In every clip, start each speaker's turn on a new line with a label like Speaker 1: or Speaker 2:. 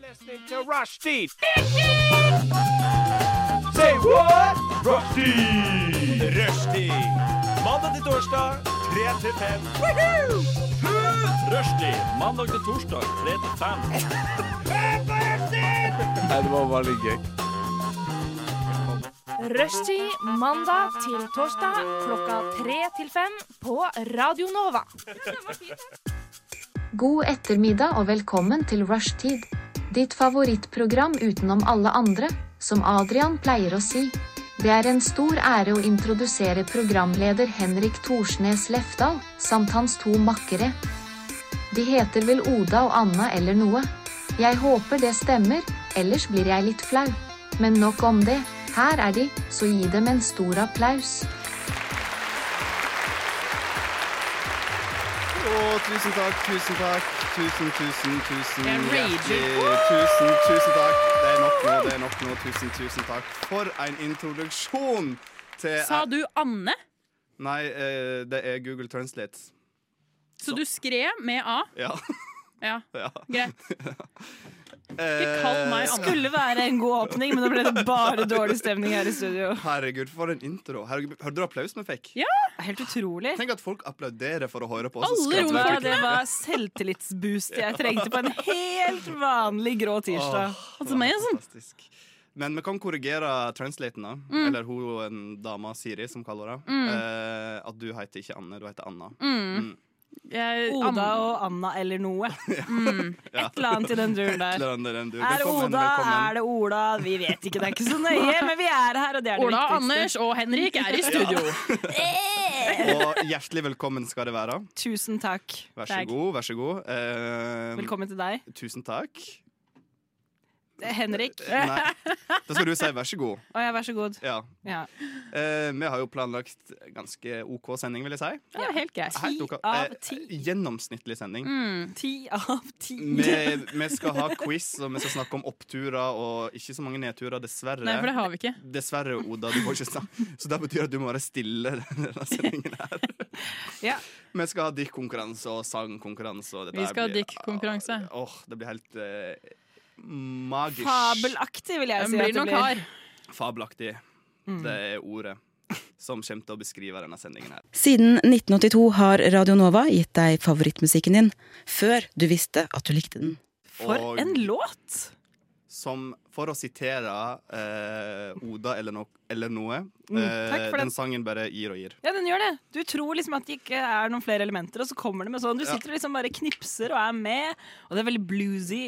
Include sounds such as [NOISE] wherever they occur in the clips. Speaker 1: listening to Rushdie. Say what? Rushdie. Rushdie. Mandag til torsdag, 3 til 5. Rushdie. Mandag til torsdag, 3 til 5.
Speaker 2: Rushtid mandag til torsdag klokka tre til fem på Radio Nova.
Speaker 3: God ettermiddag og velkommen til Rushtid. Ditt favorittprogram utenom alle andre, som Adrian pleier å si. Det er en stor ære å introdusere programleder Henrik Thorsnes Lefdal, samt hans to makkere. De heter vel Oda og Anna eller noe. Jeg håper det stemmer, ellers blir jeg litt flau. Men nok om det. Her er de, så gi dem en stor applaus.
Speaker 4: Og tusen takk, tusen takk, tusen, tusen, tusen
Speaker 5: Jeg rager.
Speaker 4: hjertelig Tusen, tusen takk. Det er nok nå, det er nok nå. Tusen, tusen takk. For en introduksjon til
Speaker 5: Sa du Anne?
Speaker 4: Nei, eh, det er Google Translate.
Speaker 5: Så du skrev med A?
Speaker 4: Ja. [LAUGHS]
Speaker 5: Ja,
Speaker 4: ja.
Speaker 5: greit.
Speaker 4: [LAUGHS] Eh,
Speaker 5: Ikke kall meg Anne.
Speaker 6: skulle være en god åpning, men nå ble det bare dårlig stemning her i studio.
Speaker 4: Herregud, for en intro. Herregud, Hørte du applausen vi fikk?
Speaker 5: Ja.
Speaker 6: Helt utrolig.
Speaker 4: Tenk at folk applauderer for å høre på oss. og
Speaker 5: Alle
Speaker 4: skratter
Speaker 5: romer.
Speaker 4: for
Speaker 6: Ja,
Speaker 4: folk.
Speaker 6: det var selvtillitsboost jeg trengte på en helt vanlig grå tirsdag.
Speaker 4: Åh,
Speaker 5: Altså, meg er sånn.
Speaker 4: fantastisk. Men vi kan korrigere translaten, da.
Speaker 5: Mm.
Speaker 4: Eller hun en dama, Siri, som kaller det. Eh, at du heter ikke Anne, du heter Anna.
Speaker 5: Mm. Jeg,
Speaker 6: Oda
Speaker 5: Anne-
Speaker 6: og Anna eller
Speaker 4: [LAUGHS]
Speaker 6: noe.
Speaker 5: Mm.
Speaker 6: Et eller annet i den duren der.
Speaker 4: Eller den der, du.
Speaker 6: Er det
Speaker 4: Velkommen,
Speaker 6: Oda,
Speaker 4: velkommen.
Speaker 6: er det Ola? Vi vet ikke, det er ikke så nøye, men vi er her, og det er det
Speaker 5: Ola,
Speaker 6: viktigste.
Speaker 5: Anders og Henrik
Speaker 6: [LAUGHS]
Speaker 5: er i studio.
Speaker 4: [LAUGHS] Og hjertelig velkommen skal det være.
Speaker 6: Tusen takk.
Speaker 4: Vær så
Speaker 5: Takk.
Speaker 4: god. vær så god Eh,
Speaker 6: Velkommen til deg.
Speaker 4: Tusen takk.
Speaker 6: Henrik.
Speaker 4: Nei, da skal du si vær så god.
Speaker 6: Å ja, vær så god.
Speaker 4: Ja.
Speaker 6: Ja.
Speaker 4: Eh, vi har jo planlagt ganske OK sending, vil jeg si.
Speaker 5: Det er helt greit.
Speaker 4: Helt ok.
Speaker 6: av
Speaker 4: Eh,
Speaker 6: ti.
Speaker 4: Gjennomsnittlig sending.
Speaker 6: Ti av ti.
Speaker 4: Vi, vi skal ha quiz, og vi skal snakke om oppturer og ikke så mange nedturer, dessverre.
Speaker 5: Nei, for det har vi ikke.
Speaker 4: Dessverre, Oda, du får ikke snakke. Så det betyr at du må være stille denne sendingen her.
Speaker 6: [LAUGHS] Ja.
Speaker 4: Vi skal ha diktkonkurranse og sangkonkurranse. og dette
Speaker 5: Vi
Speaker 4: her
Speaker 5: skal ha
Speaker 4: blir-
Speaker 5: diktkonkurranse.
Speaker 4: Åh, det blir helt eh, magisk.
Speaker 6: [LAUGHS] Fabelaktig, vil jeg
Speaker 5: Den
Speaker 6: si. at
Speaker 5: blir
Speaker 6: det
Speaker 5: nok hard.
Speaker 4: Fabelaktig.
Speaker 6: Mm.
Speaker 4: Det er ordet som kommer til å beskrive denne sendingen her.
Speaker 7: Siden 1982 har Radio Nova gitt deg favorittmusikken din, før du visste at du likte den.
Speaker 4: Og-
Speaker 6: For en låt!
Speaker 4: som for å sitere eh, Oda eller, no eller noe
Speaker 6: Mm, takk
Speaker 4: eh,
Speaker 6: for den.
Speaker 4: Den sangen bare gir og gir.
Speaker 6: Ja, den gjør det. Du tror liksom at det ikke er noen flere elementer, og så kommer det med sånn. Du
Speaker 4: Ja.
Speaker 6: sitter og liksom bare knipser og er med, og det er veldig bluesy.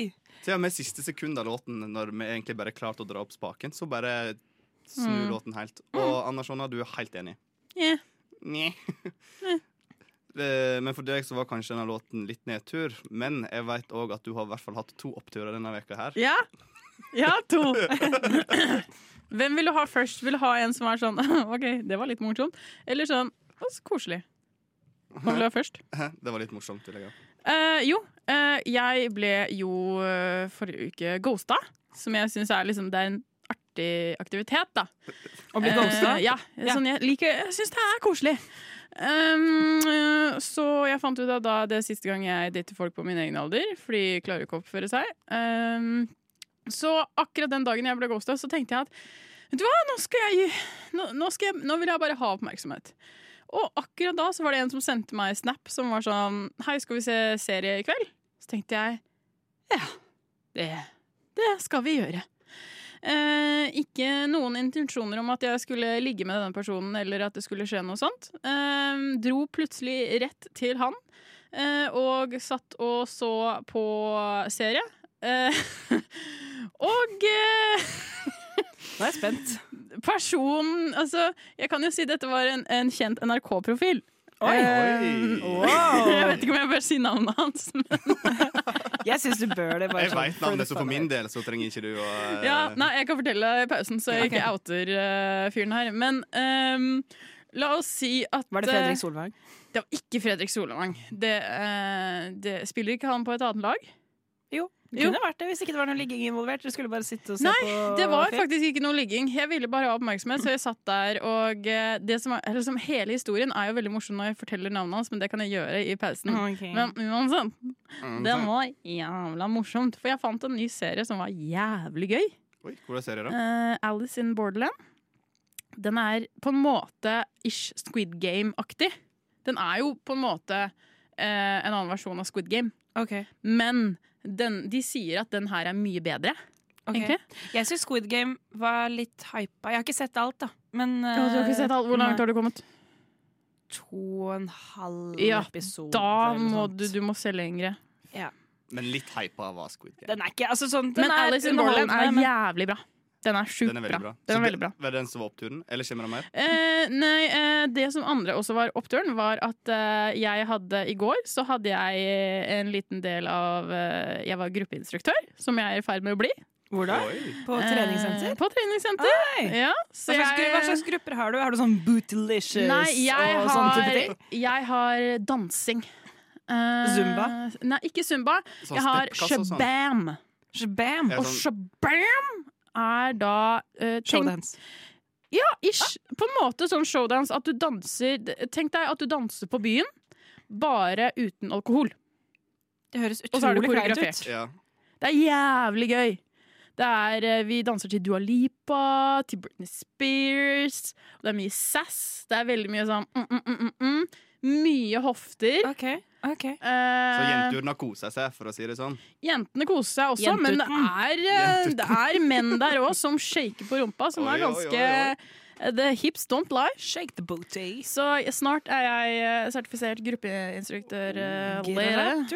Speaker 4: Til og med siste sekund av låten, når vi egentlig bare klarte å dra opp spaken, så bare snur låten helt. Og Anna Sjona, du er helt enig.
Speaker 5: Mm. Ja.
Speaker 4: Nei. [LAUGHS] Eh, Men for deg så var kanskje denne låten litt nedtur, men jeg veit òg at du har i hvert fall hatt to oppturer denne veka her. [LAUGHS]
Speaker 5: Ja. ja, to. [LAUGHS] Hvem vil du ha først? Vil du ha en som er sånn [LAUGHS] OK, det var litt morsomt. Eller sånn Å, så koselig. Hva vil du ha først?
Speaker 4: Det var litt morsomt. vil jeg ha.
Speaker 5: Eh, jo, eh, jeg ble jo eh, forrige uke ghosta, som jeg syns er liksom Det er en artig aktivitet, da.
Speaker 6: Å bli ghosta.
Speaker 5: Eh, ja, sånn jeg liker Jeg syns det er koselig. Um, eh, så jeg fant ut av da det er siste gang jeg dater folk på min egen alder, for de klarer ikke å oppføre seg. Um, så akkurat den dagen jeg ble ghosta, så tenkte jeg at vet du hva, nå, skal jeg, nå, nå, skal jeg, nå vil jeg bare ha oppmerksomhet. Og akkurat da så var det en som sendte meg snap som var sånn Hei, skal vi se serie i kveld? Så tenkte jeg ja, det, det skal vi gjøre. Eh, ikke noen intensjoner om at jeg skulle ligge med denne personen eller at det skulle skje noe sånt. Eh, dro plutselig rett til han eh, og satt og så på serie. Eh, [LAUGHS] og eh, [LAUGHS]
Speaker 6: Nå er jeg
Speaker 4: [LAUGHS]
Speaker 6: spent.
Speaker 5: personen Altså, jeg kan jo si dette var en, en kjent NRK-profil. Ehm,
Speaker 4: Oi.
Speaker 5: Jeg vet ikke om jeg bør si navnet hans. Men
Speaker 6: Jeg syns du bør det. Bare
Speaker 4: [LAUGHS]
Speaker 6: sånn
Speaker 4: Jeg veit navnet, så for min del så trenger ikke du å eh,
Speaker 5: ja, nei, jeg kan fortelle deg i pausen, så jeg ikke outer eh, fyren her. Men ehm, la oss si at
Speaker 6: Var det
Speaker 5: eh,
Speaker 6: Fredrik Solvang?
Speaker 5: Det var ikke Fredrik Solvang. Det, eh, det spiller ikke han på et annet lag?
Speaker 6: Jo.
Speaker 5: Jo.
Speaker 6: kunne vært det hvis ikke det var noe ligging involvert. Du skulle bare sitte og se
Speaker 5: Nei,
Speaker 6: på
Speaker 5: Det var
Speaker 6: film.
Speaker 5: faktisk ikke noe ligging. Jeg ville bare ha oppmerksomhet, så jeg satt der. Og eh, det som, er- eller som hele historien er jo veldig morsom når jeg forteller navnet hans, men det kan jeg gjøre i pausen.
Speaker 6: Ok.
Speaker 5: Men uansett,
Speaker 4: Mm,
Speaker 5: den var jævla morsomt. For jeg fant en ny serie som var jævlig gøy.
Speaker 4: Oi, hvor er serien da?
Speaker 5: Eh, Alice in Borderland. Den er på en måte ish Squid Game-aktig. Den er jo på en måte eh, en annen versjon av Squid Game.
Speaker 6: Ok.
Speaker 5: Men den, de sier at den her er mye bedre,
Speaker 6: Ok.
Speaker 5: egentlig.
Speaker 6: Jeg syns Squid Game var litt hypa. Jeg har ikke sett alt, da. Men eh,
Speaker 5: Hvor langt
Speaker 6: nei,
Speaker 5: har du kommet?
Speaker 6: To og en halv
Speaker 5: Ja,
Speaker 6: episode.
Speaker 5: Da
Speaker 6: eller noe
Speaker 5: må
Speaker 6: sånt.
Speaker 5: du, du må se lengre.
Speaker 4: Men litt hypa var Squid Game.
Speaker 6: Den er ikke altså sånn den
Speaker 5: Men
Speaker 6: er
Speaker 5: Alice in Borderland
Speaker 6: underholdende,
Speaker 5: er
Speaker 6: men-
Speaker 5: jævlig bra. Den er sjukt
Speaker 4: Den er
Speaker 5: bra.
Speaker 4: veldig bra.
Speaker 5: Den
Speaker 4: Så
Speaker 5: er veldig bra.
Speaker 4: Var det den som var oppturen? Eller kommer det mer?
Speaker 5: Eh, nei, eh, det som andre også var oppturen, var at eh, jeg hadde I går så hadde jeg eh, en liten del av eh, Jeg var gruppeinstruktør, som jeg er i ferd med å bli.
Speaker 6: Hvor da?
Speaker 4: Oi.
Speaker 6: På treningssenter?
Speaker 5: Eh, på treningssenter.
Speaker 6: Nei.
Speaker 5: Ja, Eh, så
Speaker 6: Hva slags,
Speaker 5: jeg-
Speaker 6: hva slags grupper har du? Har du sånn bootylicious
Speaker 5: Nei, jeg
Speaker 6: og sånn type ting?
Speaker 5: har, jeg har dansing. Eh,
Speaker 6: Zumba?
Speaker 5: Nei, ikke zumba.
Speaker 4: Sånn
Speaker 5: jeg har
Speaker 4: steppkasse og sånn.
Speaker 5: shabam.
Speaker 6: Shabam!
Speaker 4: Ja,
Speaker 5: Og
Speaker 4: sånn-
Speaker 5: shabam er da eh, tenk-
Speaker 6: Showdance.
Speaker 5: Ja, ish. På en måte sånn showdance at du danser Tenk deg at du danser på byen, bare uten alkohol.
Speaker 6: Det høres
Speaker 5: Og så er det
Speaker 6: utrolig kleint ut.
Speaker 5: koreografert.
Speaker 4: Ja.
Speaker 5: Det er jævlig gøy. Det er, eh, vi danser til Dua Lipa, til Britney Spears. Det er mye sass. Det er veldig mye sånn mm, mm, mm, mm, mm. Mye hofter.
Speaker 6: Ok, ok.
Speaker 5: Eh,
Speaker 4: Så jenteturen har kosa seg, for å si det sånn.
Speaker 5: jentene koser seg også, men det er, eh, det er menn der òg som shaker på rumpa, som
Speaker 4: Oi,
Speaker 5: er
Speaker 4: oi,
Speaker 5: ganske eh,
Speaker 4: oi,
Speaker 5: The hips don't lie.
Speaker 6: Shake the booty.
Speaker 5: Så snart er jeg eh, sertifisert gruppeinstruktør. eh, Lere.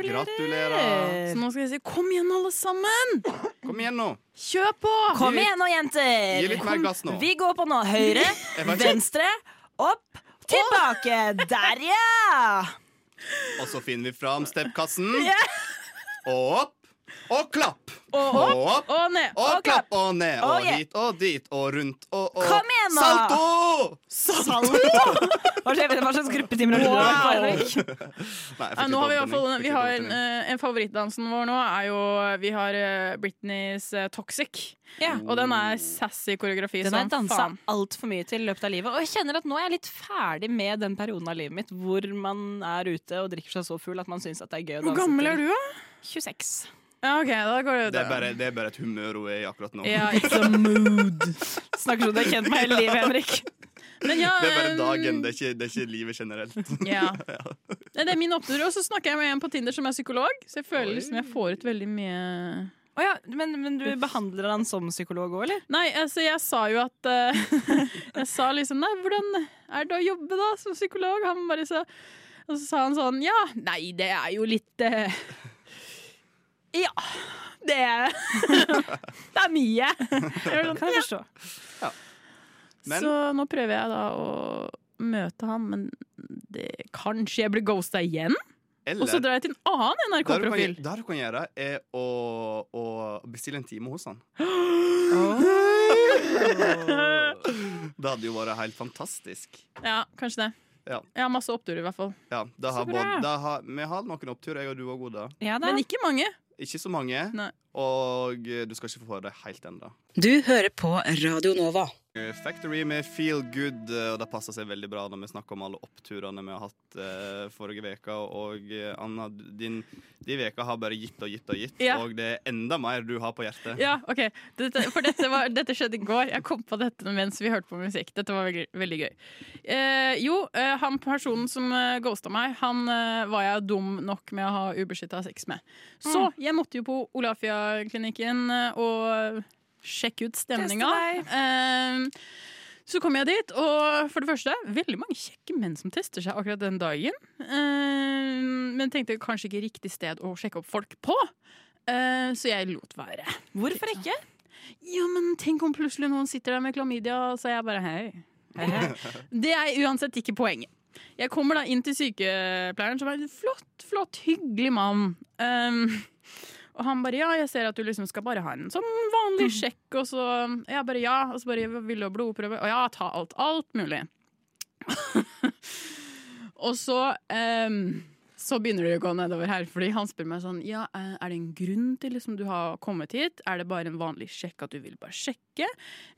Speaker 5: Så
Speaker 4: Gratulerer.
Speaker 5: nå skal jeg si kom igjen, alle sammen!
Speaker 4: Kom igjen nå!
Speaker 5: Kjør på!
Speaker 4: Gi
Speaker 6: Kom
Speaker 4: litt-
Speaker 6: igjen nå, jenter!
Speaker 4: Gi litt mer gass nå.
Speaker 6: Vi går på nå. Høyre,
Speaker 4: [LAUGHS] Jeg var ikke-
Speaker 6: venstre, opp, tilbake. Der, ja!
Speaker 4: Og så finner vi fram steppkassen. Og opp. Og klapp.
Speaker 5: Og
Speaker 4: Og
Speaker 5: opp
Speaker 4: opp.
Speaker 5: og ned.
Speaker 4: Og klapp og ned.
Speaker 6: Oh,
Speaker 4: Og
Speaker 6: yeah.
Speaker 4: hit og dit og rundt og og
Speaker 6: Kom igjen nå!
Speaker 4: Salto!
Speaker 6: Salto! [LAUGHS] Hva slags hva slags gruppetimer har du vært på, Henrik?
Speaker 4: Nei, jeg fikk
Speaker 5: Ja,
Speaker 4: ikke
Speaker 5: nå har vi, i hvert
Speaker 4: opptenning.
Speaker 5: fall,
Speaker 4: Fikk
Speaker 5: vi
Speaker 4: ikke
Speaker 5: har en,
Speaker 4: opptenning.
Speaker 5: eh, en favorittdansen vår nå er jo Vi har eh, Britneys eh, Toxic.
Speaker 6: Ja.
Speaker 5: Og den er sassy koreografi
Speaker 6: Den har jeg
Speaker 5: som
Speaker 6: dansa
Speaker 5: faen.
Speaker 6: altfor mye til i løpet av livet. Og jeg kjenner at nå er jeg litt ferdig med den perioden av livet mitt hvor man er ute og drikker seg så full at man syns at det er gøy å danse
Speaker 5: Hvor gammel er du, da?
Speaker 6: til 26.
Speaker 5: Ja, OK, da går det jo
Speaker 4: Det er, bare, det er bare et humør hun er i akkurat nå.
Speaker 5: ja, It's a mood.
Speaker 6: [LAUGHS] Snakker som du har kjent meg hele livet, Henrik.
Speaker 5: Men ja,
Speaker 4: [LAUGHS] Det er bare
Speaker 5: eh,
Speaker 4: dagen, det er ikke, det er
Speaker 5: Um.
Speaker 4: ikke livet generelt.
Speaker 6: [LAUGHS]
Speaker 5: Ja. Nei, Det er min opptur. Og så snakker jeg med en på Tinder som er psykolog, så jeg føler
Speaker 4: Oi.
Speaker 5: liksom jeg får ut veldig mye
Speaker 6: Å ja, men, men du behandler han som psykolog òg, eller?
Speaker 5: Nei, altså, jeg sa jo at eh, [LAUGHS] Jeg sa liksom Nei, hvordan er det å jobbe da som psykolog? Han bare sa Og så sa han sånn Ja, nei, det er jo litt eh, Ja. Det er, [LAUGHS] det er
Speaker 6: [LAUGHS]
Speaker 5: mye. Jeg var sånn,
Speaker 6: Kan jeg forstå.
Speaker 4: Men-
Speaker 5: Så nå prøver jeg da å møte han, men det, kanskje jeg blir ghosta igjen? Og så
Speaker 4: Eller det
Speaker 5: drar jeg til en annen
Speaker 4: du kan,
Speaker 5: NRK-profil.
Speaker 4: det du kan gjøre, er å, å bestille en time hos han. [LAUGHS] Det hadde jo vært helt fantastisk.
Speaker 5: Ja, kanskje det.
Speaker 4: Ja.
Speaker 5: Jeg har masse oppturer, i hvert fall.
Speaker 4: Ja, da har
Speaker 5: Så bra.
Speaker 4: både, da har, vi har noen oppturer, jeg og du òg, Oda.
Speaker 6: Ja da.
Speaker 5: Men ikke mange.
Speaker 4: Ikke så mange.
Speaker 5: Nei.
Speaker 4: Og eh, du skal ikke få høre det helt ennå.
Speaker 7: Du hører på Radio Nova.
Speaker 4: Factory med Feel Good, eh, og det passer seg veldig bra når vi snakker om alle oppturene vi har hatt eh, forrige veka Og eh, Anna, din, din veka har bare gitt og gitt og gitt,
Speaker 5: Ja.
Speaker 4: og det er enda mer du har på hjertet.
Speaker 5: Ja, ok. Dette, for dette, var, dette skjedde i går. Jeg kom på dette mens vi hørte på musikk. Dette var veldig, veldig gøy. Eh, jo, eh, han personen som eh, ghosta meg, han eh, var jeg dum nok med å ha ubeskytta sex med. Så jeg måtte jo på Olafia-klinikken eh, og sjekke ut stemninga. Eh, så kom jeg dit, og for det første, veldig mange kjekke menn som tester seg akkurat den dagen. Eh, men tenkte kanskje ikke riktig sted å sjekke opp folk på. Eh, så jeg lot være.
Speaker 6: Hvorfor ikke?
Speaker 5: Ja, men tenk om plutselig noen sitter der med klamydia, og så er jeg bare hei.
Speaker 6: [LAUGHS]
Speaker 5: Det er uansett ikke poenget. Jeg kommer da inn til sykepleieren, som er en flott, flott, hyggelig mann. Um, og han bare ja, jeg ser at du liksom skal bare ha en sånn
Speaker 6: [LAUGHS]
Speaker 5: vanlig sjekk, og så Jeg bare ja, og så bare vil du ha blodprøve? Og ja, ta [LAUGHS] alt. Alt mulig. og så um, Så begynner det å gå nedover her, fordi han spør meg sånn Ja, eh, er det en grunn til liksom du har kommet hit? Er det bare en vanlig sjekk at du vil bare sjekke?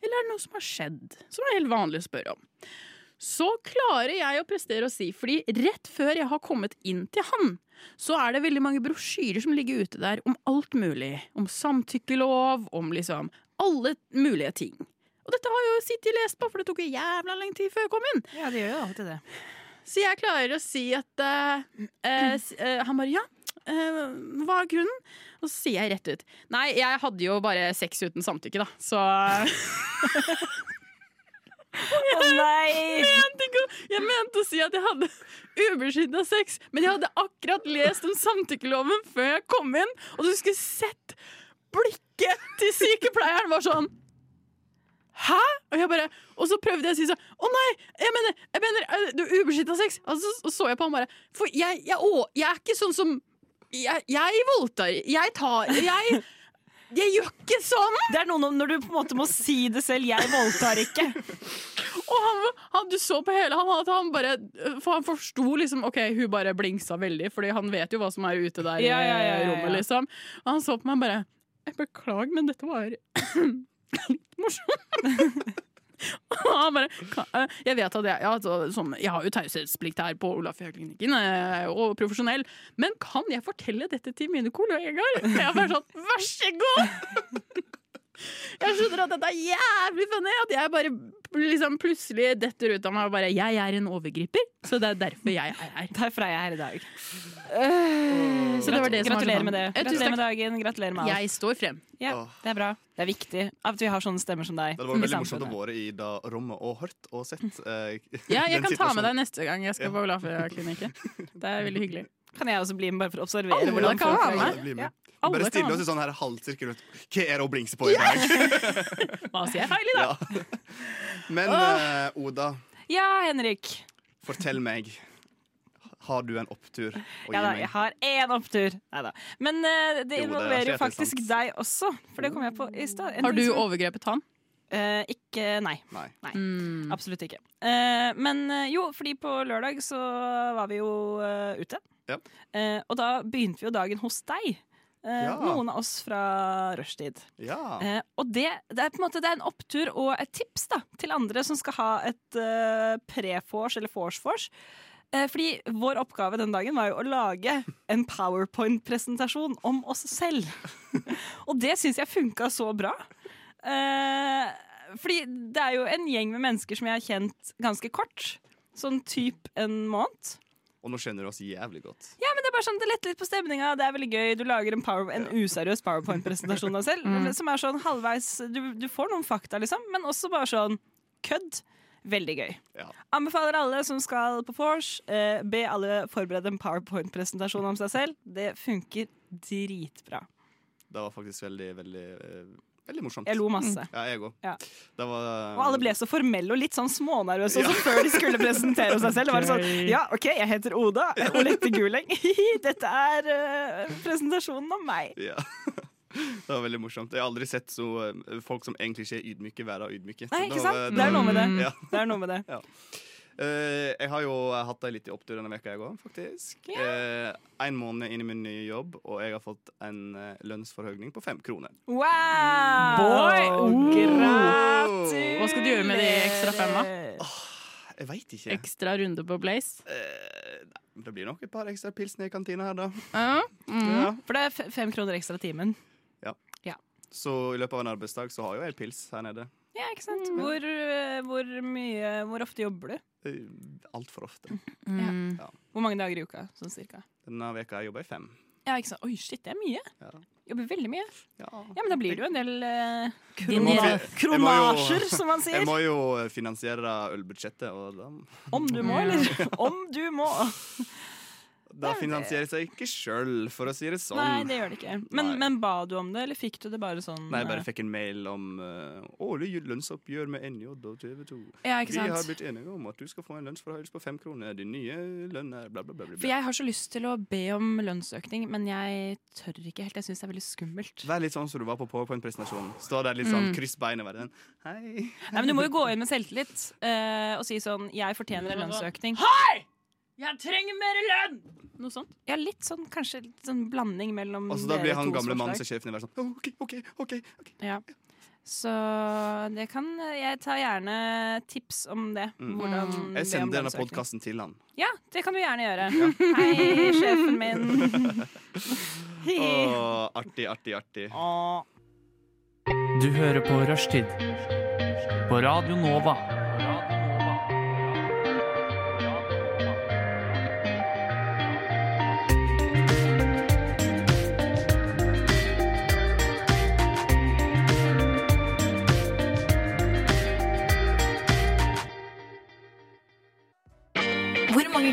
Speaker 5: Eller er det noe som har skjedd? Som er helt vanlig å spørre om. Så klarer jeg å prestere å si, fordi rett før jeg har kommet inn til han, så er det veldig mange brosjyrer som ligger ute der om alt mulig. Om samtykkelov, om liksom alle mulige ting. Og dette har jeg jo sittet og lest på, for det tok jo jævla lang tid før jeg kom inn.
Speaker 6: Ja, det gjør jo alltid det.
Speaker 5: Så jeg klarer å si at eh, eh, s- eh, Han bare ja. eh, hva er grunnen? Og så sier jeg rett ut Nei, jeg hadde jo bare sex uten samtykke, da. Så jeg
Speaker 6: [LAUGHS] Å
Speaker 5: [LAUGHS]
Speaker 6: nei!
Speaker 5: mente, ikke, å- jeg mente å si at jeg hadde ubeskytta sex, men jeg hadde akkurat lest om samtykkeloven før jeg kom inn, og du skulle sett blikket til sykepleieren var sånn Hæ?! Og, jeg bare, og så prøvde jeg å si sånn Å nei, jeg mener, jeg mener eh, du ubeskytta sex! Og så så jeg på han bare For jeg, jeg, å, jeg er ikke sånn som Jeg, jeg voldtar. Jeg tar Jeg jeg gjør ikke sånn!
Speaker 6: Det er noe om når du på en måte må si det selv. Jeg voldtar ikke. [LAUGHS]
Speaker 5: Og han, han, du så på hele han at han bare For han forsto liksom OK, hun bare blingsa veldig, Fordi han vet jo hva som er ute der
Speaker 6: Ja, ja,
Speaker 5: i
Speaker 6: ja, ja,
Speaker 5: rommet,
Speaker 6: ja.
Speaker 5: liksom. Og han så på meg bare Jeg beklager, men dette var [CLEARS THROAT] litt morsomt. [LAUGHS] Og han bare «Ka- eh, Jeg vet at jeg, ja, altså, som, jeg har jo taushetsplikt her på Olaf Høgklinikken, og profesjonell, men kan jeg fortelle dette til mine kollegaer? Jeg bare sånn Vær så god! [LAUGHS] Jeg skjønner at dette er jævlig funny, at jeg bare liksom plutselig detter ut av meg og bare Jeg er en overgriper, så det er derfor jeg er her.
Speaker 6: Derfor er jeg her i dag.
Speaker 5: Så det var det som var så
Speaker 6: Gratulerer
Speaker 5: sånn.
Speaker 6: med det.
Speaker 5: Ja, tusen
Speaker 6: Gratulerer med
Speaker 5: takk.
Speaker 6: dagen. Gratulerer med alt.
Speaker 5: Jeg står frem.
Speaker 6: Ja, det er bra. Det er viktig at vi har sånne stemmer som deg.
Speaker 4: Det hadde vært
Speaker 5: I
Speaker 4: veldig morsomt å
Speaker 5: samfunnet.
Speaker 4: være i da rommet og hørt og sett.
Speaker 6: Mm.
Speaker 4: eh,
Speaker 5: Ja,
Speaker 4: den
Speaker 5: jeg kan ta
Speaker 4: situasjonen.
Speaker 5: med deg neste gang jeg
Speaker 4: Ja.
Speaker 5: skal på Olafia-klinikken. Det er veldig hyggelig.
Speaker 6: Kan jeg også bli med bare for å
Speaker 4: [LAUGHS]
Speaker 6: observere?
Speaker 5: Alle
Speaker 6: hvordan
Speaker 5: kan
Speaker 6: folk
Speaker 5: være med.
Speaker 6: reagerer?
Speaker 4: Alle blir med.
Speaker 6: Ja.
Speaker 5: Alle
Speaker 4: Bare
Speaker 5: kan
Speaker 4: stille
Speaker 5: være
Speaker 4: oss i sånn her halvsirkel rundt Hva er det hun blingser på i dag?
Speaker 5: Hva sier jeg feil i dag?
Speaker 4: Ja. Men eh, Oda,
Speaker 6: Ja, Henrik.
Speaker 4: fortell meg. Har du en opptur å
Speaker 6: Ja
Speaker 4: gi
Speaker 6: da, jeg
Speaker 4: meg?
Speaker 6: har én opptur. Nei da. Men eh, det
Speaker 4: Jo, det er
Speaker 6: involverer jo
Speaker 4: helt
Speaker 6: faktisk
Speaker 4: sant.
Speaker 6: deg også, for det kom jeg på i stad. En
Speaker 5: Har du
Speaker 6: ting som-
Speaker 5: overgrepet han?
Speaker 6: Eh, ikke Nei.
Speaker 4: Nei.
Speaker 5: Mm.
Speaker 6: Absolutt ikke. Eh, men eh, jo, fordi på lørdag så var vi jo eh, ute.
Speaker 4: Ja.
Speaker 6: Eh, og da begynte vi jo dagen hos deg. Eh,
Speaker 4: Ja.
Speaker 6: Noen av oss fra rushtid.
Speaker 4: Ja.
Speaker 6: Eh, og det, det er på en måte det er en opptur og et tips da, til andre som skal ha et eh, pre-vors eller vors-vors. Eh, fordi vår oppgave den dagen var jo å lage en powerpoint-presentasjon om oss selv. og det syns jeg funka så bra. Eh, fordi det er jo en gjeng med mennesker som jeg har kjent ganske kort. Sånn typ en måned.
Speaker 4: Og nå skjønner du oss jævlig godt.
Speaker 6: Ja, men det er bare sånn, det letter litt på stemninga. Det er veldig gøy. Du lager en, power, en useriøs powerpoint-presentasjon av deg selv. Som er sånn halvveis du, du får noen fakta, liksom, men også bare sånn kødd. Veldig gøy.
Speaker 4: Ja.
Speaker 6: Anbefaler alle som skal på vors, eh, be alle forberede en powerpoint-presentasjon om seg selv. Det funker dritbra.
Speaker 4: Det var faktisk veldig, veldig, eh, veldig morsomt.
Speaker 6: Jeg lo masse.
Speaker 4: Ja, jeg òg.
Speaker 6: Ja.
Speaker 4: Det var
Speaker 6: Og alle ble så formelle og litt sånn smånervøse også [LAUGHS] før de skulle presentere seg selv. Det var sånn, ja, ok, jeg heter Oda Olette Guleng. [LAUGHS] Dette er eh, presentasjonen om meg.
Speaker 4: [LAUGHS] ja. Det var veldig morsomt. Jeg har aldri sett så eh, folk som egentlig ikke er ydmyke, være ydmyke. Så
Speaker 6: Nei,
Speaker 4: det
Speaker 6: ikke
Speaker 4: var-
Speaker 6: sant?
Speaker 4: det
Speaker 6: Det er
Speaker 4: var-
Speaker 6: noe med det.
Speaker 4: Ja.
Speaker 6: Det er noe med det.
Speaker 4: Eh, jeg har jo hatt ei lita opptur denne veka jeg òg, faktisk. Eh, en måned inn i min nye jobb, og jeg har fått en eh, lønnsforhøgning på fem kroner.
Speaker 6: Wow!
Speaker 5: Boy! Oh.
Speaker 6: Gratulerer!
Speaker 5: Hva skal du gjøre med de ekstra femma?
Speaker 4: Jeg veit ikke.
Speaker 5: Ekstra runde på Blaze.
Speaker 4: Eh, nei, det blir nok et par ekstra pilsner i kantina her, da.
Speaker 5: Ja. Mm.
Speaker 4: Ja.
Speaker 6: For det er f- fem kroner ekstra timen.
Speaker 4: Så i løpet av en arbeidsdag så har jo jeg pils her nede.
Speaker 6: Ja, ikke sant?
Speaker 4: Mm.
Speaker 6: Hvor, øh, hvor mye Hvor ofte jobber du?
Speaker 4: Eh, Altfor ofte.
Speaker 5: Mm.
Speaker 6: Hvor mange dager i uka, sånn cirka?
Speaker 4: Denne veka har jeg jobba i fem.
Speaker 6: Ja, ikke sant? Oi, shit, det er mye.
Speaker 4: Ja.
Speaker 6: Jobber veldig mye.
Speaker 4: Ja.
Speaker 6: Ja, men da blir det jo en del øh,
Speaker 5: Din
Speaker 6: krona-
Speaker 5: jæv-
Speaker 6: kronasjer, som man
Speaker 4: Jeg
Speaker 6: sier.
Speaker 4: må jo finansiere ølbudsjettet, og da,
Speaker 6: Om du må, eller? [LAUGHS] Om du må.
Speaker 4: da finansierer jeg seg ikke sjøl, for å si det sånn.
Speaker 6: Nei, det gjør det ikke. Men,
Speaker 4: Nei.
Speaker 6: men ba du om det, eller fikk du det bare sånn?
Speaker 4: Nei, jeg
Speaker 6: øh,
Speaker 4: bare fikk en mail om eh, årlig lønnsoppgjør med NJ og TV 2.
Speaker 6: eh, Ja,
Speaker 4: Vi
Speaker 6: ikke
Speaker 4: har
Speaker 6: sant?
Speaker 4: blitt enige om at du skal få en lønnsforhøyelse på fem kroner. Din nye lønn er bla, bla, bla. bla,
Speaker 6: For
Speaker 4: bla.
Speaker 6: jeg har så lyst til å be om lønnsøkning, men jeg tør ikke helt. Jeg syns det er veldig skummelt.
Speaker 4: Vær litt sånn som du var på powerpoint-presentasjonen. Stå der litt
Speaker 6: Mm.
Speaker 4: sånn, kryss beina og være den. Hei.
Speaker 6: Nei, men Du må jo gå inn med selvtillit eh, og si sånn 'Jeg fortjener en lønnsøkning'.
Speaker 5: 'Jeg trenger mer lønn!' Noe sånt.
Speaker 6: Ja, litt sånn kanskje litt sånn blanding mellom
Speaker 4: Og så Altså, da blir
Speaker 6: dere
Speaker 4: han
Speaker 6: tos
Speaker 4: gamle mannen som
Speaker 6: forslag.
Speaker 4: sjefen i verden sånn OK, OK, OK. ok.
Speaker 6: Ja. Så det kan Jeg tar gjerne tips om det.
Speaker 4: Mm.
Speaker 6: Hvordan be om
Speaker 4: Jeg sender denne
Speaker 6: lønnsøkning.
Speaker 4: podkasten til han.
Speaker 6: Ja, det kan du gjerne gjøre. Hei, sjefen
Speaker 4: [LAUGHS]
Speaker 6: min.
Speaker 4: Å, artig, artig, artig.
Speaker 6: Åh.
Speaker 8: Du hører på Rushtid på Radio Nova.
Speaker 9: Hvor mange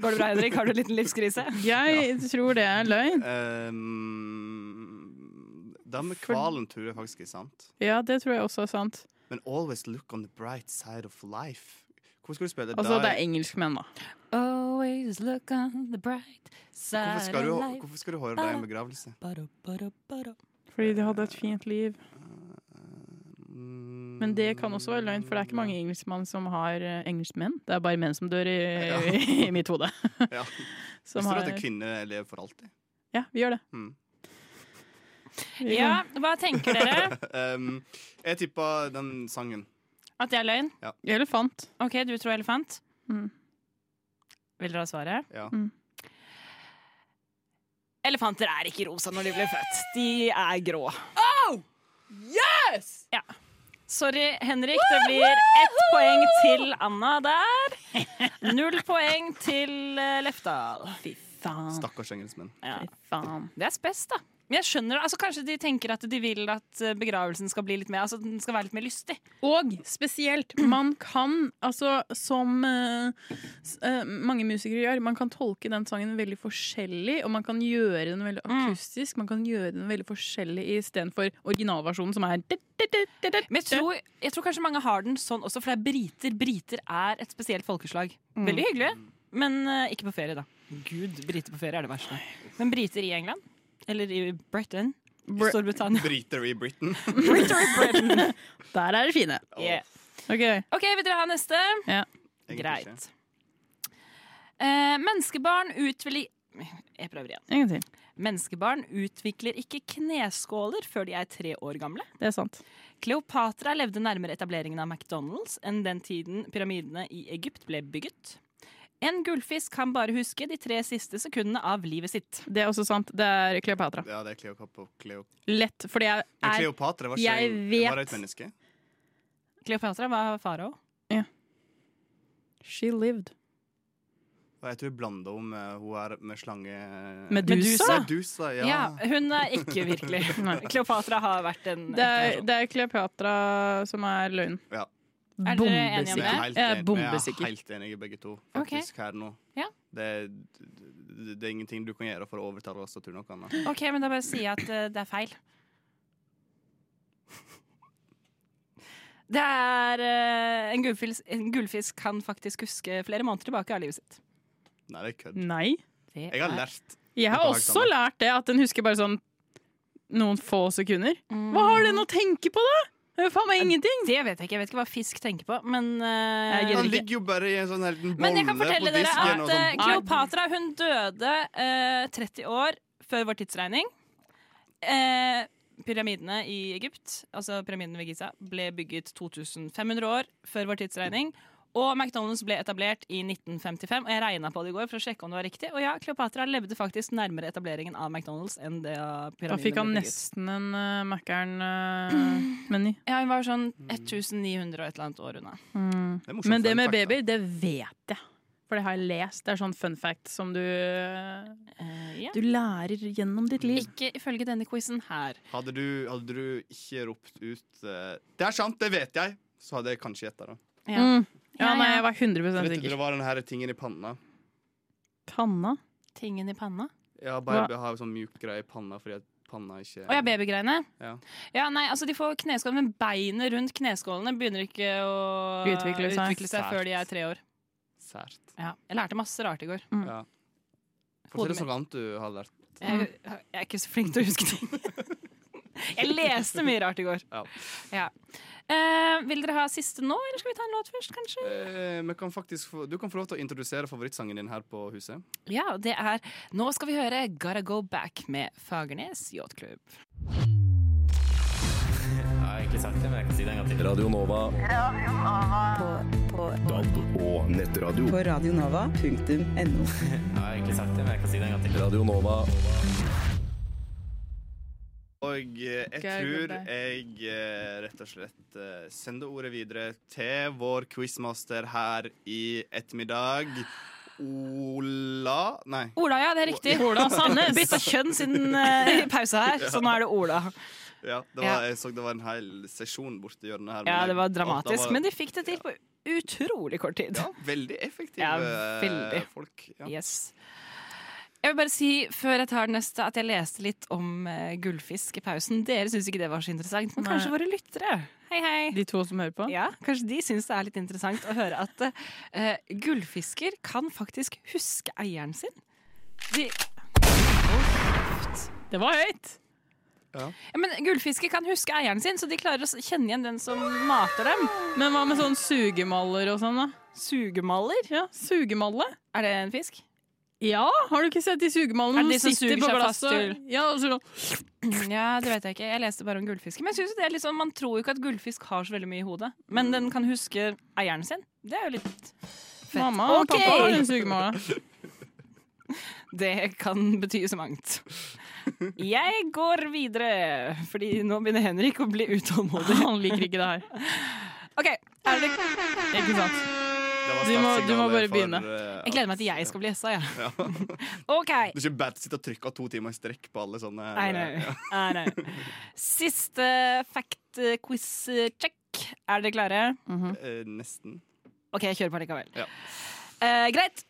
Speaker 6: Går det bra, Henrik? Har du en liten livskrise?
Speaker 5: Jeg tror det er løgn.
Speaker 4: Um, det med
Speaker 5: For-
Speaker 4: hvalen tror jeg faktisk er sant.
Speaker 5: Ja, det tror jeg også er sant.
Speaker 4: Men always look on the bright side of life. Hvor skal du spille det?
Speaker 5: Altså,
Speaker 4: der?
Speaker 5: det er engelskmenn, da.
Speaker 6: Always look on the bright
Speaker 4: hvorfor,
Speaker 6: side
Speaker 4: skal du,
Speaker 6: of life.
Speaker 4: hvorfor skal du høre deg i en begravelse?
Speaker 6: Bada, bada, bada.
Speaker 5: Fordi de hadde et fint liv.
Speaker 4: Mm.
Speaker 5: Men det kan også være løgn, for det er ikke mange engelskmenn som har eh, engelskmenn. Det er bare menn som dør i,
Speaker 4: Ja.
Speaker 5: [LAUGHS] i mitt hode.
Speaker 4: [LAUGHS] Ja.
Speaker 5: Som
Speaker 4: Visste du
Speaker 5: har-
Speaker 4: at en kvinne lever for alltid?
Speaker 5: Ja, vi gjør det.
Speaker 4: Mm.
Speaker 5: Vi
Speaker 6: Ja,
Speaker 5: kan-
Speaker 6: hva tenker dere?
Speaker 4: Um, jeg tippa den sangen.
Speaker 6: At det er løgn?
Speaker 5: Elefant.
Speaker 6: OK, du tror elefant.
Speaker 5: Mm.
Speaker 6: Vil dere ha svaret?
Speaker 4: Ja.
Speaker 5: Mm.
Speaker 6: Elefanter er ikke rosa når de blir født. De er grå. Oh! Yes! Ja. Sorry, Henrik. Det blir ett poeng til Anna der. Null poeng til eh, Lefdal.
Speaker 5: Fy faen.
Speaker 4: Stakkars engelskmenn.
Speaker 6: Ja.
Speaker 5: Fy faen.
Speaker 6: Det er spes, da. Men jeg skjønner, altså Kanskje de tenker at de vil at eh, begravelsen skal bli litt mer Altså den skal være litt mer lystig.
Speaker 5: Og spesielt, man kan, altså som eh, s- eh, mange musikere gjør, man kan tolke den sangen veldig forskjellig, og man kan gjøre den veldig akustisk, man kan gjøre den veldig forskjellig istedenfor originalversjonen som er
Speaker 6: Men jeg tror, jeg tror kanskje mange har den sånn også, for det er briter. Briter er et spesielt folkeslag. Veldig hyggelig, men eh, ikke på ferie, da. Mm. Gud, briter på ferie er det verste. Men briter i England? Eller i Britain?
Speaker 5: Br-
Speaker 6: Storbritannia? [LAUGHS]
Speaker 4: Briter i Britain.
Speaker 5: Der er det fine.
Speaker 6: Yeah.
Speaker 5: Ok,
Speaker 6: OK, vil dere ha neste?
Speaker 5: ja.
Speaker 4: Egentlig
Speaker 6: Greit. Eh, menneskebarn utvikler Jeg prøver igjen.
Speaker 5: En gang til.
Speaker 6: Menneskebarn utvikler ikke kneskåler før de er tre år gamle.
Speaker 5: Det er sant.
Speaker 6: Kleopatra levde nærmere etableringen av McDonald's enn den tiden pyramidene i Egypt ble bygget. En gullfisk kan bare huske de tre siste sekundene av livet sitt.
Speaker 5: Det er også sant. Det er Kleopatra.
Speaker 4: Ja, det er Kleopatra. Kleo...
Speaker 5: Lett, fordi jeg
Speaker 4: Men
Speaker 5: er
Speaker 4: Kleopatra var
Speaker 5: jeg
Speaker 4: ikke en-
Speaker 5: vet.
Speaker 4: var det et menneske.
Speaker 6: Kleopatra var farao.
Speaker 5: She lived.
Speaker 4: Og jeg tror jeg blanda om eh, hun er med slange
Speaker 5: Medusa?
Speaker 4: Medusa, ja.
Speaker 6: Ja, hun er ikke [LAUGHS] virkelig.
Speaker 5: Nei.
Speaker 6: Kleopatra har vært en
Speaker 5: Det er, det er Kleopatra som er løgnen.
Speaker 4: Ja.
Speaker 6: Er dere enige om
Speaker 4: Men jeg er
Speaker 5: Bombesikker.
Speaker 4: helt enig- men Jeg er helt
Speaker 5: Jeg er bombesikker.
Speaker 4: enig i begge to,
Speaker 6: Ok.
Speaker 4: faktisk, her nå.
Speaker 6: Ja.
Speaker 4: Det, er- det, det er ingenting du kan gjøre for å overtale oss til å tro noe annet.
Speaker 6: OK, men da bare sier jeg at eh, det er feil. Det er eh, en, gullfisk, en gullfisk kan faktisk huske flere måneder tilbake av livet sitt.
Speaker 4: Nei, det er kødd.
Speaker 5: Nei.
Speaker 6: Det
Speaker 4: Jeg har
Speaker 6: er-
Speaker 4: lært.
Speaker 5: Jeg har
Speaker 4: På
Speaker 5: også
Speaker 4: Hagdalen.
Speaker 5: lært det, at den husker bare sånn noen få sekunder.
Speaker 6: Mm.
Speaker 5: Hva har den å tenke på, da?! Det er jo faen meg ingenting!
Speaker 6: Det vet jeg ikke. Jeg vet ikke hva fisk tenker på, men eh,
Speaker 5: Jeg gidder
Speaker 4: Han
Speaker 5: ikke.
Speaker 4: ligger jo bare i en sånn her liten bolle
Speaker 6: Men jeg kan
Speaker 4: på
Speaker 6: fortelle dere
Speaker 4: disken.
Speaker 6: at
Speaker 4: og
Speaker 6: eh,
Speaker 4: sånn.
Speaker 6: Kleopatra hun døde eh, 30 år før vår tidsregning. Eh, pyramidene i Egypt, altså pyramidene ved Giza, ble bygget 2500 år før vår tidsregning. Og McDonald's ble etablert i 1955, og jeg regna på det i går for å sjekke om det var riktig. Og ja, Kleopatra levde faktisk nærmere etableringen av McDonald's enn det pyramidene
Speaker 5: Da fikk han
Speaker 6: ble bygget.
Speaker 5: nesten en eh, uh, Mækkern-meny.
Speaker 4: [CLEARS THROAT]
Speaker 6: Ja, hun var sånn
Speaker 4: Mm.
Speaker 6: 1900 og et eller annet år unna.
Speaker 4: Det er morsomt
Speaker 5: Men det
Speaker 4: fun
Speaker 5: med
Speaker 4: fact, da.
Speaker 5: babyer, det vet jeg. For det har jeg lest. Det er sånn fun fact som du
Speaker 6: Eh, ja.
Speaker 5: Du lærer gjennom ditt liv.
Speaker 6: Ikke ifølge denne quizen her.
Speaker 4: Hadde du, hadde du ikke ropt ut eh, 'Det er sant, det vet jeg', så hadde jeg kanskje gjetta det.
Speaker 6: Ja.
Speaker 5: Mm. Ja,
Speaker 6: Ja,
Speaker 5: nei,
Speaker 6: ja.
Speaker 5: jeg var 100
Speaker 4: Vet du, det
Speaker 5: sikker.
Speaker 4: var den her tingen i panna.
Speaker 5: Panna?
Speaker 6: Tingen i panna.
Speaker 4: Ja,
Speaker 5: Hva?
Speaker 4: baby har jo sånn mjuk greie i panna fordi at panna ikke
Speaker 6: Å ja, babygreiene?
Speaker 4: Ja.
Speaker 6: Ja, nei, altså De får kneskåler, men beinet rundt kneskålene begynner ikke å
Speaker 5: Utvikle seg.
Speaker 6: før de er tre år.
Speaker 4: Sært.
Speaker 6: Ja. Mm. Jeg lærte masse rart i går.
Speaker 4: Ja.
Speaker 6: Hodet
Speaker 4: Fortell oss noe annet du har lært.
Speaker 6: Jeg, jeg er ikke så flink til å huske ting. [LAUGHS] Jeg leste mye rart i går.
Speaker 4: Ja.
Speaker 6: Ja. Eh, vil dere ha siste nå, eller skal vi ta en låt først, kanskje?
Speaker 4: Eh, men kan faktisk få, du kan få lov til å introdusere favorittsangen din her på huset.
Speaker 6: Ja, og det er Nå skal vi høre Gotta Go Back med Fagernes Yachtklubb.
Speaker 7: På radionova.no.
Speaker 4: Og eh, jeg
Speaker 5: Skal jeg
Speaker 4: tror
Speaker 5: gå der?
Speaker 4: jeg eh, rett og slett eh, sender ordet videre til vår quizmaster her i ettermiddag. Ola Nei.
Speaker 6: Ola, ja, det er riktig. [LAUGHS] Ola Sandnes. Bytta kjønn siden eh, pausa
Speaker 4: [LAUGHS]
Speaker 6: her, så nå er det Ola.
Speaker 4: Ja, det var, jeg så det var en hel sesjon borti hjørnet her.
Speaker 6: Ja,
Speaker 4: men
Speaker 6: det var
Speaker 4: jeg-
Speaker 6: dramatisk,
Speaker 4: alt- da var-
Speaker 6: men de fikk det til på utrolig kort tid.
Speaker 4: ja, Veldig effektive
Speaker 6: Ja, veldig.
Speaker 4: eh, folk. Ja.
Speaker 6: Yes. Jeg vil bare si før jeg tar den neste, at jeg leste litt om eh, gullfisk i pausen. Dere syns ikke det var så interessant, men
Speaker 5: Nei.
Speaker 6: kanskje våre lyttere. Hei, hei.
Speaker 5: De to som hører på?
Speaker 6: Ja, kanskje de syns det er litt interessant å høre at eh, gullfisker kan faktisk huske eieren sin. De,
Speaker 5: Det var høyt!
Speaker 6: ja, men gullfisker kan huske eieren sin, så de klarer å s- kjenne igjen den som mater dem.
Speaker 5: Men hva med sånn sugemaller og sånn, da?
Speaker 6: Sugemaller?
Speaker 5: Ja, Sugemalle?
Speaker 6: Er det en fisk?
Speaker 5: Ja, har du ikke sett de sugemallene?
Speaker 6: Er det de
Speaker 5: som
Speaker 6: som
Speaker 5: sitter
Speaker 6: suger
Speaker 5: på
Speaker 6: seg
Speaker 5: glasset?
Speaker 6: fast til-
Speaker 5: Ja, og så sånn
Speaker 6: Ja, det vet jeg ikke. Jeg leste bare om gullfisker. Men jeg synes jo det er litt sånn, man tror jo ikke at gullfisk har så veldig mye i hodet. Men den kan huske eieren sin. Det er jo litt fett.
Speaker 5: Mamma og
Speaker 6: Ok!
Speaker 5: pappa har en sugemalle.
Speaker 6: [LAUGHS] Det kan bety så mangt. Jeg går videre, fordi nå begynner Henrik å bli utålmodig.
Speaker 5: Han liker ikke det her.
Speaker 6: [LAUGHS] Ok, er det
Speaker 5: Ikke sant?
Speaker 4: Det var sterkt
Speaker 5: Du må- du må
Speaker 4: signalet
Speaker 5: bare
Speaker 4: for,
Speaker 5: begynne.
Speaker 4: eh,
Speaker 6: Jeg gleder meg
Speaker 4: at-
Speaker 6: til jeg skal bli gjessa, jeg.
Speaker 4: Ja. [LAUGHS]
Speaker 6: OK.
Speaker 4: Det er ikke bad å sitte og trykke av to timer i strekk på alle sånne.
Speaker 6: I know. [LAUGHS] I know. Siste fact-quiz-check. Er dere klare?
Speaker 4: Eh, nesten.
Speaker 6: OK, jeg kjører på likevel.
Speaker 4: Ja.
Speaker 6: Eh, greit.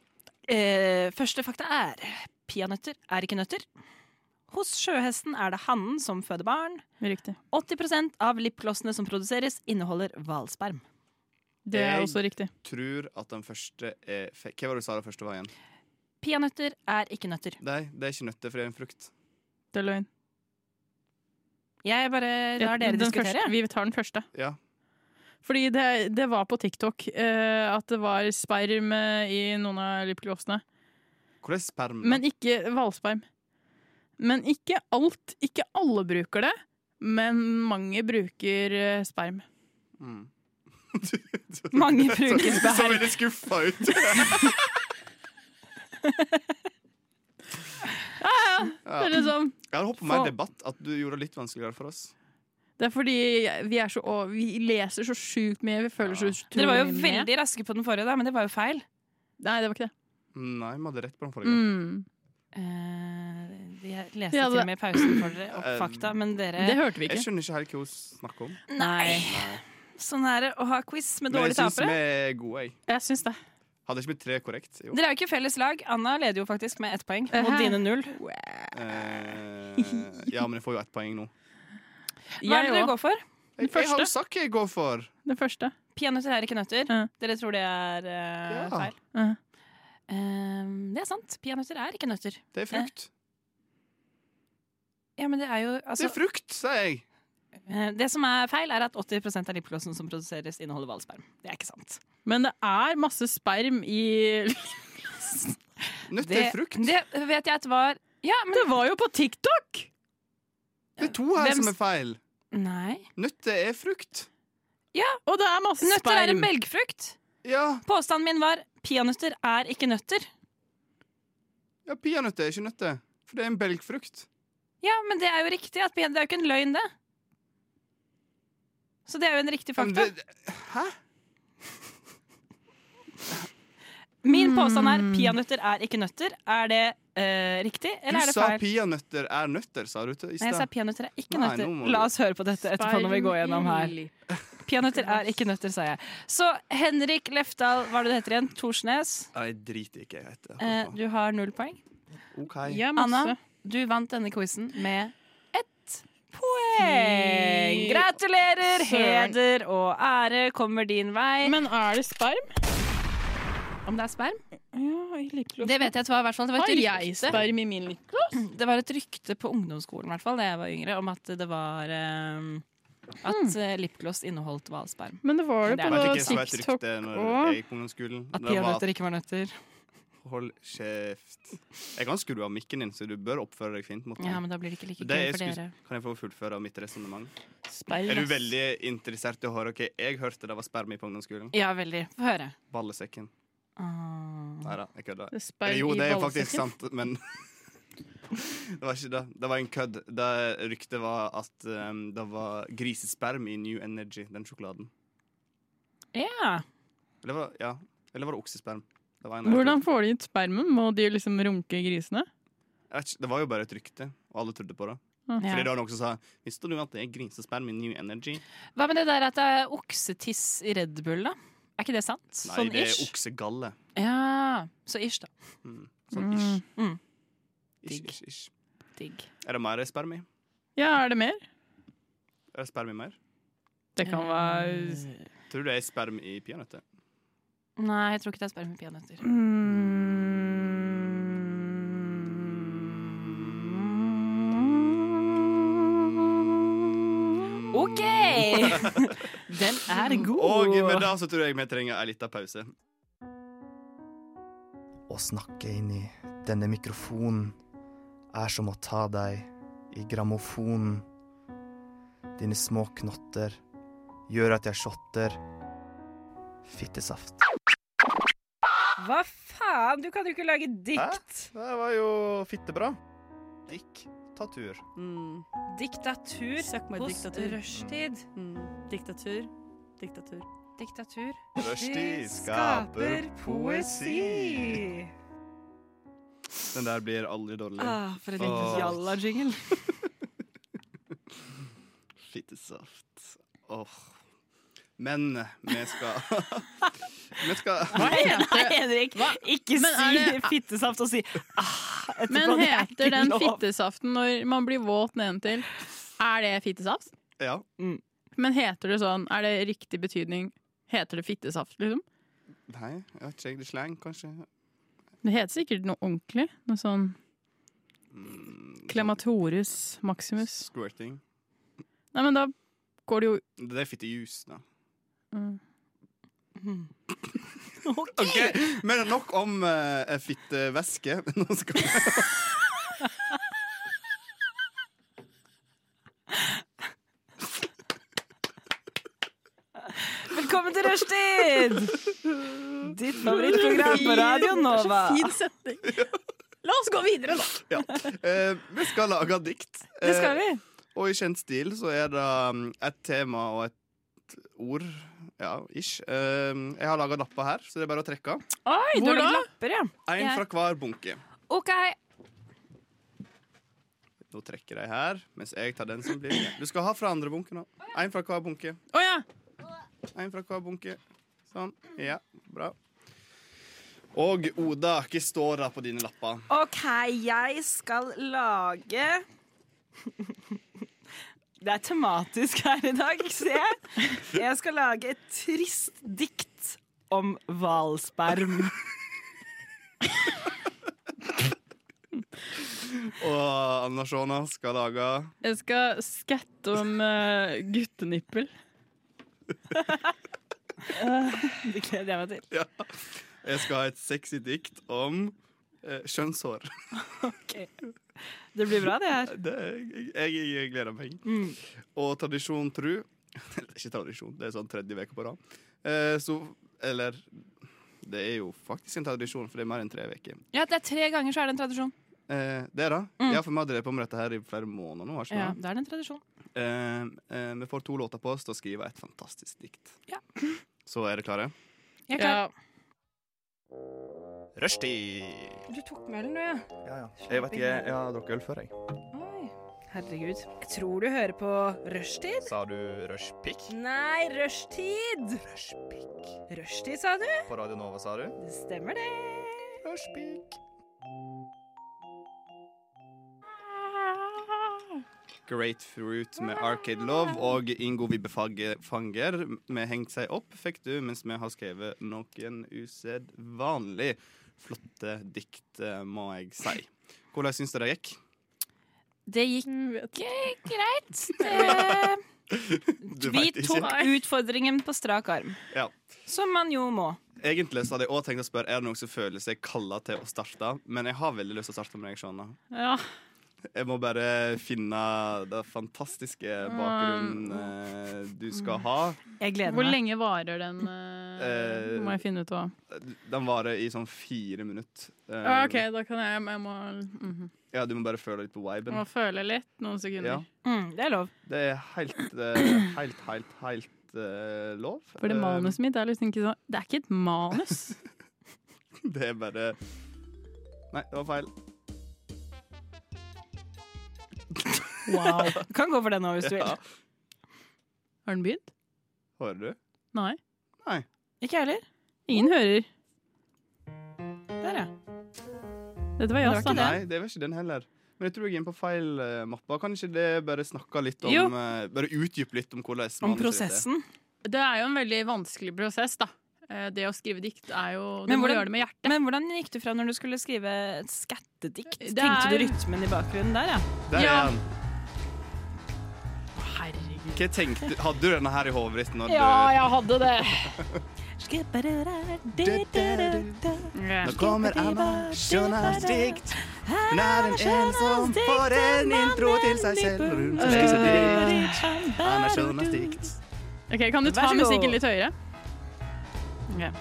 Speaker 6: Eh, første fakta er peanøtter er ikke nøtter. Hos sjøhesten er det hannen som føder barn.
Speaker 5: Riktig.
Speaker 6: 80 av lipglossene som produseres, inneholder hvalsperm.
Speaker 5: Det er
Speaker 4: Jeg-
Speaker 5: også riktig.
Speaker 4: Tror at den første er fe Hva var det du sa den første var igjen?
Speaker 6: Peanøtter er ikke nøtter.
Speaker 4: Nei, det er ikke nøtter, for det er en frukt.
Speaker 5: Det er løgn.
Speaker 6: Jeg bare lar
Speaker 5: Ja,
Speaker 6: dere
Speaker 5: den
Speaker 6: diskutere.
Speaker 5: Første, vi tar den første.
Speaker 4: Ja.
Speaker 5: Fordi det, det var på TikTok eh, at det var sperm eh, i noen av lipglossene.
Speaker 4: Hvor er sperm?
Speaker 5: Men ikke hvalsperm. Men ikke alt. Ikke alle bruker det, men mange bruker eh, sperm.
Speaker 4: Mm.
Speaker 6: [LAUGHS]
Speaker 4: [LAUGHS]
Speaker 6: Mange bruker
Speaker 4: Så- Så veldig skuffa ut.
Speaker 6: [LAUGHS]
Speaker 4: [LAUGHS]
Speaker 6: Ah,
Speaker 5: Det er, liksom,
Speaker 4: Jeg hadde håpet på mer
Speaker 5: Få-
Speaker 4: debatt, at du gjorde det litt vanskeligere for oss.
Speaker 5: det er fordi vi, er så, å- vi leser så sjukt mye, vi føler så utrolig
Speaker 6: Dere var jo
Speaker 5: mye med.
Speaker 6: veldig raske på den forrige, da, men det var jo feil.
Speaker 5: Nei, det var ikke det.
Speaker 4: Nei, vi hadde rett på den forrige.
Speaker 5: Mm.
Speaker 6: Eh, jeg leste
Speaker 5: Ja,
Speaker 6: til
Speaker 5: det-
Speaker 6: og med i pausen for dere opp
Speaker 4: Eh,
Speaker 6: fakta, men dere
Speaker 5: Det hørte vi
Speaker 4: Jeg
Speaker 5: ikke.
Speaker 4: skjønner ikke helt hva hun
Speaker 6: [LAUGHS]
Speaker 4: snakker om.
Speaker 6: Nei. Sånn Mm, er det å ha quiz med
Speaker 4: Men jeg
Speaker 6: dårlige
Speaker 4: syns vi
Speaker 6: tapere.
Speaker 4: er gode, jeg.
Speaker 5: Jeg syns det.
Speaker 4: Hadde ikke vi tre korrekt?
Speaker 6: [LAUGHS]
Speaker 4: Jo.
Speaker 6: Dere er jo ikke felles lag. Anna leder jo faktisk med ett poeng mot
Speaker 5: Ehe.
Speaker 6: dine null.
Speaker 4: Eh, ja, men jeg får jo ett poeng nå.
Speaker 6: Hva er det
Speaker 5: Jeg
Speaker 6: dere
Speaker 5: òg.
Speaker 6: går for?
Speaker 4: Jeg, jeg har jo sagt hva jeg går for.
Speaker 5: Det første.
Speaker 6: Peanøtter er ikke nøtter.
Speaker 5: Ja.
Speaker 6: Dere tror det er
Speaker 4: Ja.
Speaker 6: eh, feil.
Speaker 5: Ja.
Speaker 6: Eh, det er sant. Peanøtter er ikke nøtter.
Speaker 4: Det er frukt.
Speaker 6: Ja, men Det er jo
Speaker 4: Det
Speaker 6: altså,
Speaker 4: er frukt, sier jeg.
Speaker 6: eh, Det som er feil, er at 80 av lipglossen som produseres, inneholder hvalsperm. Det er ikke sant.
Speaker 5: Men det er masse sperm i [LAUGHS]
Speaker 4: Nøtt
Speaker 6: Det,
Speaker 4: er frukt.
Speaker 6: det vet jeg at var Ja, men
Speaker 5: Det var jo på TikTok!
Speaker 4: Det er to her
Speaker 6: Hvem
Speaker 4: som er feil.
Speaker 6: Nei.
Speaker 4: Nøtter er frukt.
Speaker 5: Og det er masse
Speaker 6: Nøtter er en
Speaker 5: sperm.
Speaker 6: belgfrukt.
Speaker 4: Ja,
Speaker 6: Påstanden min var peanøtter er ikke nøtter.
Speaker 4: ja peanøtter er ikke nøtter. For det er en belgfrukt.
Speaker 6: Ja, men det er jo riktig. At peanøtter, det er jo ikke en løgn, det. Så det er jo en riktig
Speaker 4: Men
Speaker 6: fakta.
Speaker 4: det- Hæ?
Speaker 6: Min påstand er peanøtter er ikke nøtter. Er det eh, riktig,
Speaker 4: Du
Speaker 6: eller er det
Speaker 4: sa
Speaker 6: feil?
Speaker 4: peanøtter er nøtter, sa du til i
Speaker 6: Nei, jeg sa
Speaker 4: stad.
Speaker 6: peanøtter er ikke
Speaker 4: Nei,
Speaker 6: nøtter.
Speaker 4: nå må du-
Speaker 6: La oss høre på dette etterpå når vi går gjennom her.
Speaker 5: Sperm i-
Speaker 6: Peanøtter er ikke nøtter, sa jeg. Så Henrik Lefdal, hva er det du heter igjen? Torsnes.
Speaker 4: Nei, driter ikke jeg heter.
Speaker 6: Eh, du har null poeng.
Speaker 4: OK.
Speaker 5: Ja, masse.
Speaker 6: Anna, du vant denne quizen med ett poeng. Gratulerer!
Speaker 5: Søren.
Speaker 6: Heder og ære kommer din vei.
Speaker 5: Men er det sperm?
Speaker 6: Om det er sperm?
Speaker 5: Ja, i lipgloss.
Speaker 6: Det vet jeg at det var, i hvert fall. Det var
Speaker 5: Har
Speaker 6: et
Speaker 5: jeg
Speaker 6: rykte.
Speaker 5: sperm i min lipgloss?
Speaker 6: Det var et rykte på ungdomsskolen i hvert fall, da jeg var yngre, om at det var ehm, At eh, lipgloss inneholdt hvalsperm.
Speaker 5: Men det var det
Speaker 6: Men det er
Speaker 5: på
Speaker 4: Vet
Speaker 6: nok
Speaker 4: ikke, jeg så et
Speaker 5: TikTok
Speaker 4: rykte når
Speaker 5: òg.
Speaker 4: jeg gikk på ungdomsskolen.
Speaker 6: At
Speaker 4: Det var
Speaker 6: peanøtter ikke var nøtter.
Speaker 4: at Hold kjeft. Jeg kan skru av mikken din, så du bør oppføre deg fint mot meg.
Speaker 6: Ja, men da blir det ikke like
Speaker 4: Det
Speaker 6: gøy
Speaker 4: jeg
Speaker 6: for
Speaker 4: skulle-
Speaker 6: dere.
Speaker 4: Kan jeg få fullføre mitt resonnement?
Speaker 5: Sperm.
Speaker 4: Er du
Speaker 5: ass.
Speaker 4: veldig interessert i å høre hva jeg hørte det var sperma i på ungdomsskolen?
Speaker 6: Ja, veldig. Få høre.
Speaker 4: Ballesekken.
Speaker 6: Ah.
Speaker 4: Nei da, jeg kødder.
Speaker 5: Det er sperm
Speaker 4: Eller jo, det er
Speaker 5: i
Speaker 4: faktisk
Speaker 5: ballsekken.
Speaker 4: sant, men [LAUGHS] Det var ikke det. Det var en kødd. Det ryktet var at um, det var grisesperm i New Energy, den sjokoladen.
Speaker 6: Ja.
Speaker 4: Eller var, ja. Eller var det oksesperm? Det var, en av de to.
Speaker 5: Hvordan får de ut spermen? Må de liksom runke grisene?
Speaker 4: Jeg vet ikke, det var jo bare et rykte, og alle trodde på det. Fordi
Speaker 6: ja.
Speaker 4: det var noen som sa Visste du at det er grisesperm i New Energy?
Speaker 6: Hva med det der at det er oksetiss i Red Bull, da? Er ikke det sant?
Speaker 4: Nei,
Speaker 6: sånn
Speaker 4: det er
Speaker 6: ish?
Speaker 4: oksegalle.
Speaker 6: Ja. Så ish, da.
Speaker 4: Mm. Sånn ish.
Speaker 6: Mm.
Speaker 4: Ish,
Speaker 6: Digg.
Speaker 4: ish, ish.
Speaker 6: Digg.
Speaker 4: Er det mer sperm i?
Speaker 5: Ja, er det mer?
Speaker 4: Er det sperm i mer?
Speaker 5: Det kan være
Speaker 4: Tror du det er sperm i peanøtter?
Speaker 6: Nei, jeg tror ikke det er sperm med peanøtter. Mm. [LAUGHS] OK! Den er god.
Speaker 4: Og med det så tror jeg vi trenger en liten pause.
Speaker 10: Å snakke inn i denne mikrofonen er som å ta deg i grammofonen. Dine små knotter gjør at jeg shotter. Fittesaft.
Speaker 6: Hva faen? Du kan jo ikke lage dikt.
Speaker 4: Det var jo fittebra. Diktatur.
Speaker 6: Diktatur
Speaker 11: Mm. Søk meg
Speaker 6: hos
Speaker 11: diktatur. Mm.
Speaker 6: rushtid.
Speaker 11: Diktatur. Diktatur.
Speaker 6: Diktatur.
Speaker 4: Rushtid skaper poesi. Den der blir aldri dårlig.
Speaker 6: Ah, for en
Speaker 4: Åh.
Speaker 6: jalla-jingle.
Speaker 4: Fittesaft. Åh. Men vi
Speaker 5: [LAUGHS]
Speaker 4: skal Vi skal
Speaker 5: Hva
Speaker 6: Nei,
Speaker 5: heter
Speaker 6: Henrik, ikke
Speaker 5: Men
Speaker 6: si
Speaker 5: er det-
Speaker 6: fittesaft og si ah, etterpå.
Speaker 5: Men
Speaker 6: Det er ikke
Speaker 5: heter den
Speaker 6: lov.
Speaker 5: fittesaften når man blir våt nedentil, er det fittesaft?
Speaker 4: Ja.
Speaker 5: Men heter det sånn, er det riktig betydning? Heter det fittesaft, liksom?
Speaker 4: Nei, jeg vet ikke. jeg. Det er slang, kanskje?
Speaker 5: Det heter sikkert noe ordentlig. Noe sånn
Speaker 4: Mm,
Speaker 5: Klematorus maximus.
Speaker 4: Squirting.
Speaker 5: Nei, men da går det jo
Speaker 4: Det er fittejus, da.
Speaker 5: Mm.
Speaker 4: [LAUGHS] OK, men nok om uh, fittevæske. [LAUGHS] Nå skal vi
Speaker 6: Velkommen til Rushtid! Ditt favorittprogram på Radio Nova.
Speaker 5: Det er så fin setning. La oss gå videre, da.
Speaker 4: ja. Eh, vi skal lage dikt.
Speaker 5: Det skal vi.
Speaker 4: Eh, og i kjent stil så er det um, et tema og et ord. Ja, ish. Eh, jeg har laga lapper her, så det er bare å trekke.
Speaker 6: Oi,
Speaker 4: du har laget
Speaker 6: lapper, ja.
Speaker 4: Én fra hver bunke.
Speaker 6: OK.
Speaker 4: Nå trekker jeg her, mens jeg tar den som blir igjen. Du skal ha fra andre bunken òg. Én fra hver bunke.
Speaker 5: Å ja.
Speaker 4: Én fra hver bunke. Sånn. Ja, bra. Og Oda, hva står det på dine lapper?
Speaker 6: OK, jeg skal lage Det er tematisk her i dag, ser jeg. Jeg skal lage et trist dikt om hvalsperm.
Speaker 4: Og Anna Shona skal lage
Speaker 5: Jeg skal skatte om eh, guttenippel.
Speaker 6: [LAUGHS] Det gleder jeg meg til.
Speaker 4: Ja. Jeg skal ha et sexy dikt om eh, kjønnshår.
Speaker 6: Det blir bra, det her.
Speaker 4: jeg, jeg, jeg gleder meg.
Speaker 5: Mm.
Speaker 4: Og tradisjon tru [LAUGHS] Eller ikke tradisjon, det er sånn tredje uke på rad. Eh, så Eller Det er jo faktisk en tradisjon, for det er mer enn tre uker.
Speaker 5: Ja, det er tre ganger så er det en tradisjon.
Speaker 4: Eh, det, da?
Speaker 5: Mm.
Speaker 4: Ja, for vi har drevet på med dette her i flere måneder nå. Har ikke vi
Speaker 5: Ja,
Speaker 4: det?
Speaker 5: det er en tradisjon.
Speaker 4: Eh, eh, vi får to låter på oss til å skrive et fantastisk dikt. Så er dere klare?
Speaker 11: Jeg er klar.
Speaker 4: Rushtid!
Speaker 11: Du tok med den, du, ja.
Speaker 10: Ja, ja. Jeg vet ikke, jeg har drukket øl før, jeg.
Speaker 11: Herregud. Jeg tror du hører på rushtid.
Speaker 10: Sa du rushpick?
Speaker 11: Nei, rushtid. Rushpick. Rushtid, sa du?
Speaker 10: På Radio Nova, sa du?
Speaker 11: Det stemmer det. Rushpick.
Speaker 4: Great Fruit med Arcade Love og Ingo Vibbefanger med Hengt seg opp fikk du mens vi har skrevet noen usedvanlig flotte dikt, eh, må jeg si. Hvordan syns du det gikk?
Speaker 6: Det gikk gikk greit.
Speaker 5: [LAUGHS]
Speaker 6: Det...
Speaker 4: Du
Speaker 6: Vi
Speaker 4: vet ikke.
Speaker 6: tok utfordringen på strak arm,
Speaker 4: Ja.
Speaker 6: som man jo må.
Speaker 4: Egentlig så hadde jeg også tenkt å spørre Er det noen som føler seg kalla til å starte, men jeg har veldig lyst til å starte med deg, Shona.
Speaker 5: Ja.
Speaker 4: Jeg må bare finne det fantastiske bakgrunnen eh, du skal ha.
Speaker 6: Jeg gleder
Speaker 5: Hvor
Speaker 6: meg.
Speaker 5: lenge varer den? eh,
Speaker 4: Eh,
Speaker 5: må jeg finne ut av.
Speaker 4: Den varer i sånn fire minutter. Eh,
Speaker 5: Ja, Ah, OK, da kan jeg Jeg må, mhm.
Speaker 4: Ja, du må bare føle litt på
Speaker 5: jeg
Speaker 4: viben.
Speaker 5: må føle litt noen
Speaker 4: Ja.
Speaker 5: sekunder.
Speaker 6: det er lov.
Speaker 4: Det er helt, eh, helt, helt, helt eh, lov.
Speaker 5: For det
Speaker 4: Eh,
Speaker 5: manuset mitt er liksom ikke sånn Det er ikke et manus.
Speaker 4: [LAUGHS] Eh, Det er bare Nei, det var feil.
Speaker 5: Wow.
Speaker 6: Du kan gå for den nå hvis du vil.
Speaker 4: Ja.
Speaker 5: Har den begynt?
Speaker 4: Hører du?
Speaker 5: Nei.
Speaker 4: Nei.
Speaker 6: Ikke jeg heller. Oh.
Speaker 5: Ingen hører.
Speaker 6: Der, ja.
Speaker 5: Dette var jazz, da.
Speaker 4: Nei, det var ikke den heller. Men jeg tror jeg er inne på feil eh, mappe. Kan ikke det bare snakke litt om
Speaker 5: Jo.
Speaker 4: eh, Bare utdype litt om hvordan manuset
Speaker 5: Det er jo en veldig vanskelig prosess, da. Eh, Det å skrive dikt er jo Du
Speaker 6: Men
Speaker 5: må
Speaker 6: hvordan-
Speaker 5: gjøre det med hjertet.
Speaker 6: Men hvordan gikk du fra når du skulle skrive et skattedikt?
Speaker 5: Det
Speaker 6: Tenkte
Speaker 5: er-
Speaker 6: du rytmen i bakgrunnen der, ja?
Speaker 4: heter. Der
Speaker 5: Ja.
Speaker 4: er han. Hva tenkte Hadde du denne her i hodet ditt når
Speaker 5: Ja,
Speaker 4: du
Speaker 5: jeg hadde det.
Speaker 4: Nå kommer Anna Jonas dikt. Hun er en ensom får en intro til seg selv. Rundt seg spiser dikt. Anna Jonas dikt.
Speaker 5: Ok, Kan du
Speaker 6: Vær
Speaker 5: ta
Speaker 6: så god.
Speaker 5: musikken litt høyere? Ok.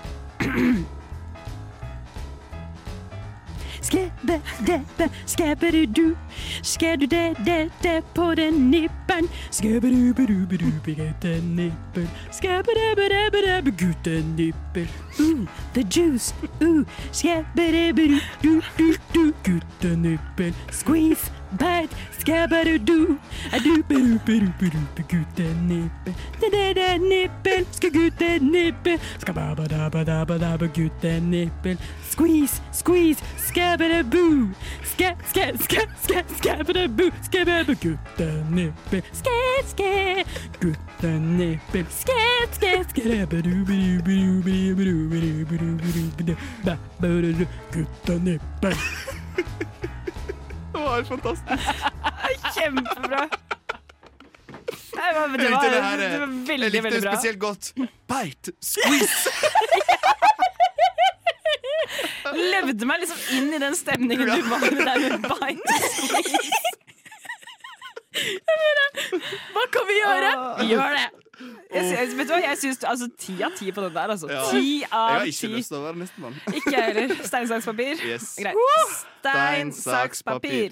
Speaker 12: Skæbbe, dæbbe, skæbbe du du. Skæ du dæ dæ dæ på den nippen. Skæbbe du be du be du be gutten nippen. Skæbbe dæbbe dæbbe dæbbe gutten nippen. Ooh, the juice. Ooh, skæbbe dæbbe du du du du gutten nippen. Squeeze, bad, skæbbe du du. Er du be du be du be du be gutten nippen. Dæ dæ dæ nippen, skal gutten nippen. Skal ba ba da ba da ba da ba gutten nippen. Squeeze, squeeze, skabba-da-boo. Ska, ska, ska, ska, skabba-da-boo. Skabba-ba, gutta-nippel. Ska, ska, gutta-nippel. Ska, ska, skabba-da-boo-boo-boo-boo-boo-boo-boo-boo-boo-boo-boo-boo-boo. Ba, ba-da-da, gutta-nippel.
Speaker 4: Det var helt fantastisk.
Speaker 6: Kjempebra. var,
Speaker 4: Jeg
Speaker 6: det
Speaker 4: likte
Speaker 6: var,
Speaker 4: det her, eh,
Speaker 6: det var veldig,
Speaker 4: jeg likte
Speaker 6: veldig
Speaker 4: det
Speaker 6: bra.
Speaker 4: spesielt godt. Bite, squeeze.
Speaker 6: Levde meg liksom inn i den stemningen du var med der med bite squeeze. Hva kan vi gjøre? Vi gjør det. Jeg, sy- vet du hva, jeg syns altså ti av ti på den der, altså. Ti
Speaker 4: Jeg
Speaker 6: av
Speaker 4: har ikke
Speaker 6: ti.
Speaker 4: lyst til å være nestemann.
Speaker 6: Ikke jeg heller. Stein, saks, papir.
Speaker 4: Yes.
Speaker 6: Greit.
Speaker 4: Stein,
Speaker 6: Stein,
Speaker 4: saks,
Speaker 6: saks,
Speaker 4: papir.
Speaker 6: papir.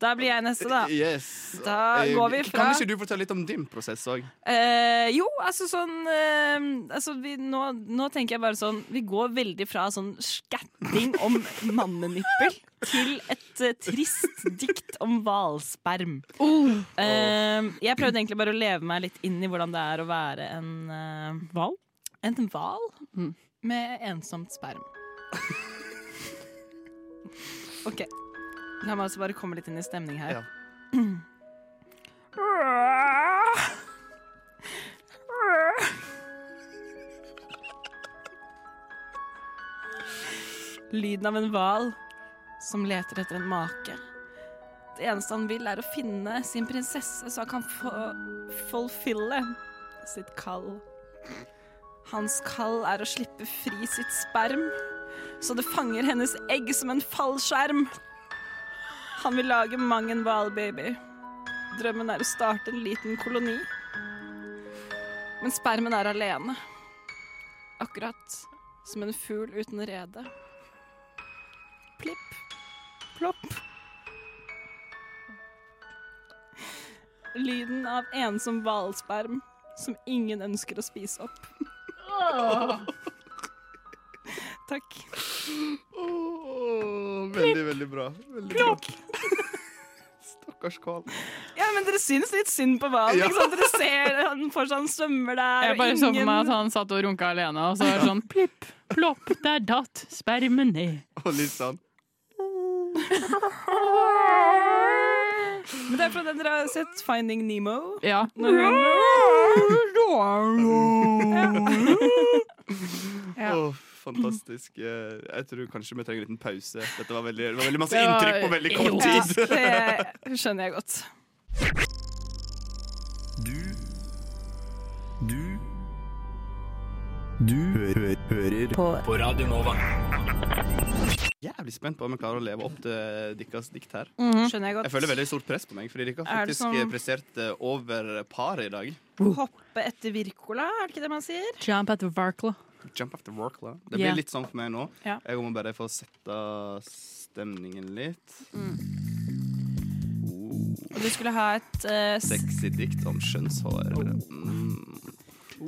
Speaker 6: Da blir jeg neste, da.
Speaker 4: Yes.
Speaker 6: Da
Speaker 4: Eh,
Speaker 6: går vi fra
Speaker 4: Kan ikke du fortelle litt om din prosess òg?
Speaker 6: Eh, jo, altså sånn eh, altså, vi, nå, nå tenker jeg bare sånn Vi går veldig fra sånn skatting om mannenippel til et eh, trist dikt om hvalsperm. Eh, jeg prøvde egentlig bare å leve meg litt inn i hvordan det er å være en hval. en hval med ensomt sperm. OK. La meg altså bare komme litt inn i stemning her. [CLEARS THROAT] Lyden av en hval som leter etter en make. Det eneste han vil, er å finne sin prinsesse, så han kan få fulfille sitt kall. Hans kall er å slippe fri sitt sperm, så det fanger hennes egg som en fallskjerm. Han vil lage mang en hvalbaby. Drømmen er å starte en liten koloni. Men spermen er alene. Akkurat som en fugl uten rede. Plipp, plopp. Lyden av ensom hvalsperm som ingen ønsker å spise opp. Takk.
Speaker 4: veldig, veldig bra. Veldig bra. [LAUGHS] Stakkars hval.
Speaker 6: Ja, men dere syns litt synd på hvalen.
Speaker 4: Ja.
Speaker 6: ikke sant? Dere ser han for seg han svømmer der.
Speaker 5: Jeg
Speaker 6: og
Speaker 5: bare så for
Speaker 6: ingen-
Speaker 5: meg at han satt og runka alene, og så var det sånn plipp, plopp, der datt spermen ned.
Speaker 4: Og litt sånn
Speaker 6: Men det er fra den dere har sett Finding Nemo.
Speaker 5: Ja.
Speaker 6: Når hun
Speaker 4: Åh, fantastisk. Eh, Jeg tror kanskje vi trenger en liten pause. Dette var veldig, det var veldig masse
Speaker 6: Det var-
Speaker 4: inntrykk på veldig kort
Speaker 6: Ja,
Speaker 4: tid.
Speaker 6: det skjønner jeg godt.
Speaker 13: Du Du Du hører på, Radio Nova.
Speaker 4: [LAUGHS] Jævlig spent på om jeg klarer å leve opp til deres dikt her.
Speaker 6: Mhm. Skjønner jeg godt.
Speaker 4: føler veldig stort press på meg, fordi dere har
Speaker 6: Er det
Speaker 4: faktisk
Speaker 6: sånn- som-
Speaker 4: eh, prestert eh, over par i dag.
Speaker 6: Hoppe etter Virkola, er det ikke det man sier?
Speaker 5: Jump at the Varkla.
Speaker 4: Jump after work, da. Det blir
Speaker 5: Ja.
Speaker 4: litt sånn for meg nå.
Speaker 6: Ja.
Speaker 4: Jeg må bare få sette stemningen litt.
Speaker 6: Og du skulle ha et eh, s-
Speaker 4: Sexy dikt om skjønnshår. Mm.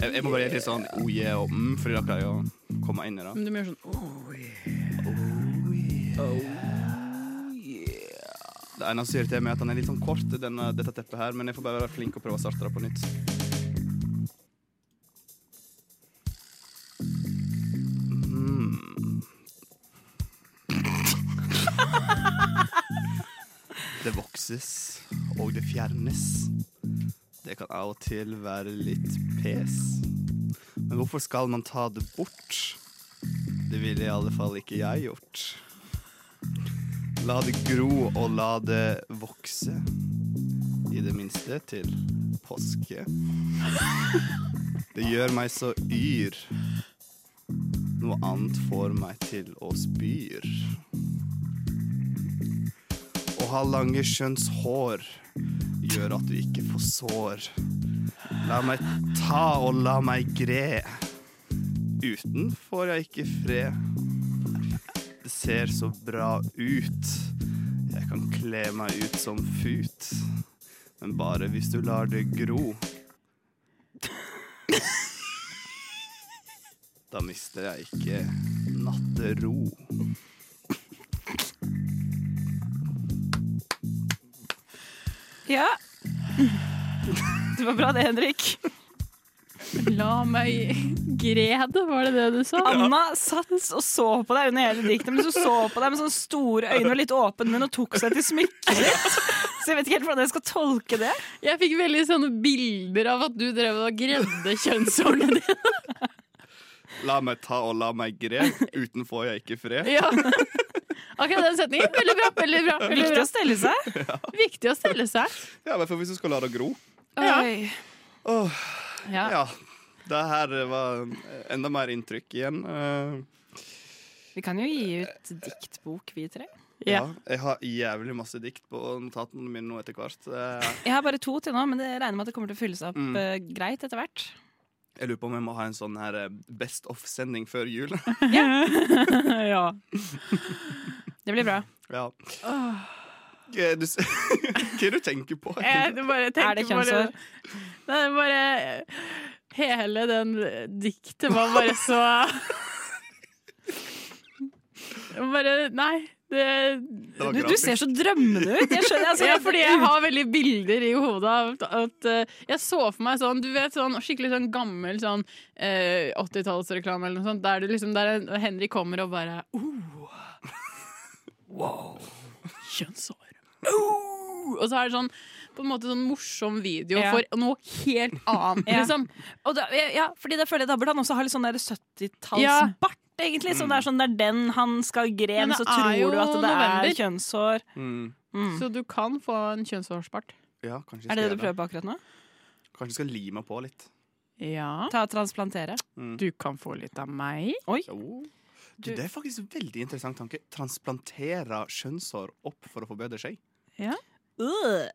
Speaker 4: Jeg, jeg må bare gjøre litt sånn oh yeah og mm, fordi da klarer jeg å komme inn i det.
Speaker 5: Men du må gjøre sånn
Speaker 4: Det eneste som irriterer meg, er at den er litt sånn kort, denne, dette teppet her, men jeg får bare være flink og prøve å starte det på nytt. Mm. Det vokses, og det fjernes. Det kan av og til være litt pes. Men hvorfor skal man ta det bort? Det ville i alle fall ikke jeg gjort. La det gro og la det vokse. I det minste til påske. Det gjør meg så yr. Noe annet får meg til å spyr. Å ha lange skjønns hår gjør at du ikke får sår. La meg ta og la meg gre. Uten får jeg ikke fred. Det ser så bra ut. Jeg kan kle meg ut som fut. Men bare hvis du lar det gro. Da mister jeg ikke nattero.
Speaker 6: Ja. [LAUGHS] Det var bra det, Henrik.
Speaker 5: La meg grede, var det det du sa?
Speaker 6: Anna satt og så på deg under hele diktet, men så så på deg med sånne store øyne og litt åpen munn og tok seg til smykket ditt. [LAUGHS] Så jeg vet ikke helt hvordan jeg skal tolke det.
Speaker 5: Jeg fikk veldig sånne bilder av at du drev og gredde kjønnshårene dine.
Speaker 4: La meg ta og la meg gre. Uten får jeg ikke fred.
Speaker 5: [LAUGHS] Ja. Akkurat den setningen. Veldig bra. veldig bra, veldig bra.
Speaker 4: seg.
Speaker 5: Viktig å stelle seg.
Speaker 4: Ja, i hvert fall hvis du skal la det gro.
Speaker 5: Ja.
Speaker 6: Oi.
Speaker 5: Ja.
Speaker 4: Ja. Det her var enda mer inntrykk igjen. Eh,
Speaker 6: Vi kan jo gi ut diktbok, vi tre.
Speaker 4: ja. Jeg har jævlig masse dikt på notatene mine nå etter hvert. Eh,
Speaker 6: Jeg har bare to til nå, men det regner med at det kommer til å fylle seg opp
Speaker 4: Mm.
Speaker 6: eh, greit etter hvert.
Speaker 4: Jeg lurer på om jeg må ha en sånn her eh, Best of-sending før jul. [LAUGHS]
Speaker 5: [LAUGHS] ja. Det blir bra.
Speaker 4: ja. Eh, Du, s- [LAUGHS] hva er det du tenker på?
Speaker 6: Eh.
Speaker 5: Jeg bare tenker
Speaker 6: Er det
Speaker 5: bare-
Speaker 6: kjønnsår?
Speaker 5: Nei, bare Hele den diktet var bare så
Speaker 6: [LAUGHS]
Speaker 5: Bare Nei. Det,
Speaker 6: Det var Du- du grafisk. ser så drømmende ut. Jeg skjønner, altså,
Speaker 5: ja,
Speaker 6: jeg-
Speaker 5: fordi jeg har veldig bilder i hodet av at, at eh, Jeg så for meg sånn Du vet sånn skikkelig sånn gammel sånn eh, 80-tallsreklame eller noe sånt, der, du liksom, der Henry kommer og bare oh, Wow. Kjønnshår. Og så er det sånn på en måte sånn morsom video
Speaker 6: Ja.
Speaker 5: for noe helt annet,
Speaker 6: Ja.
Speaker 5: liksom.
Speaker 6: Og da, ja, fordi da føler jeg da burde han også ha litt sånn der 70-tallsbart,
Speaker 5: Ja.
Speaker 6: egentlig. Sånn det er sånn det er den han skal gre, men
Speaker 5: Men det
Speaker 6: så
Speaker 5: er
Speaker 6: tror
Speaker 5: jo
Speaker 6: du at det
Speaker 5: november.
Speaker 6: er kjønnshår.
Speaker 4: Mm.
Speaker 5: Så du kan få en kjønnshårspart.
Speaker 4: Ja, kanskje jeg
Speaker 6: Er
Speaker 4: skal
Speaker 6: det det
Speaker 4: gjøre
Speaker 6: du prøver på akkurat nå?
Speaker 4: Kanskje jeg skal lime på litt.
Speaker 5: Ja.
Speaker 6: Ta og transplantere.
Speaker 4: Mm.
Speaker 5: Du kan få litt av meg.
Speaker 6: Oi.
Speaker 4: Oh. Du, det er faktisk en veldig interessant tanke. Transplantere kjønnshår opp for å få bedre skjegg.
Speaker 5: Ja.
Speaker 6: Øh.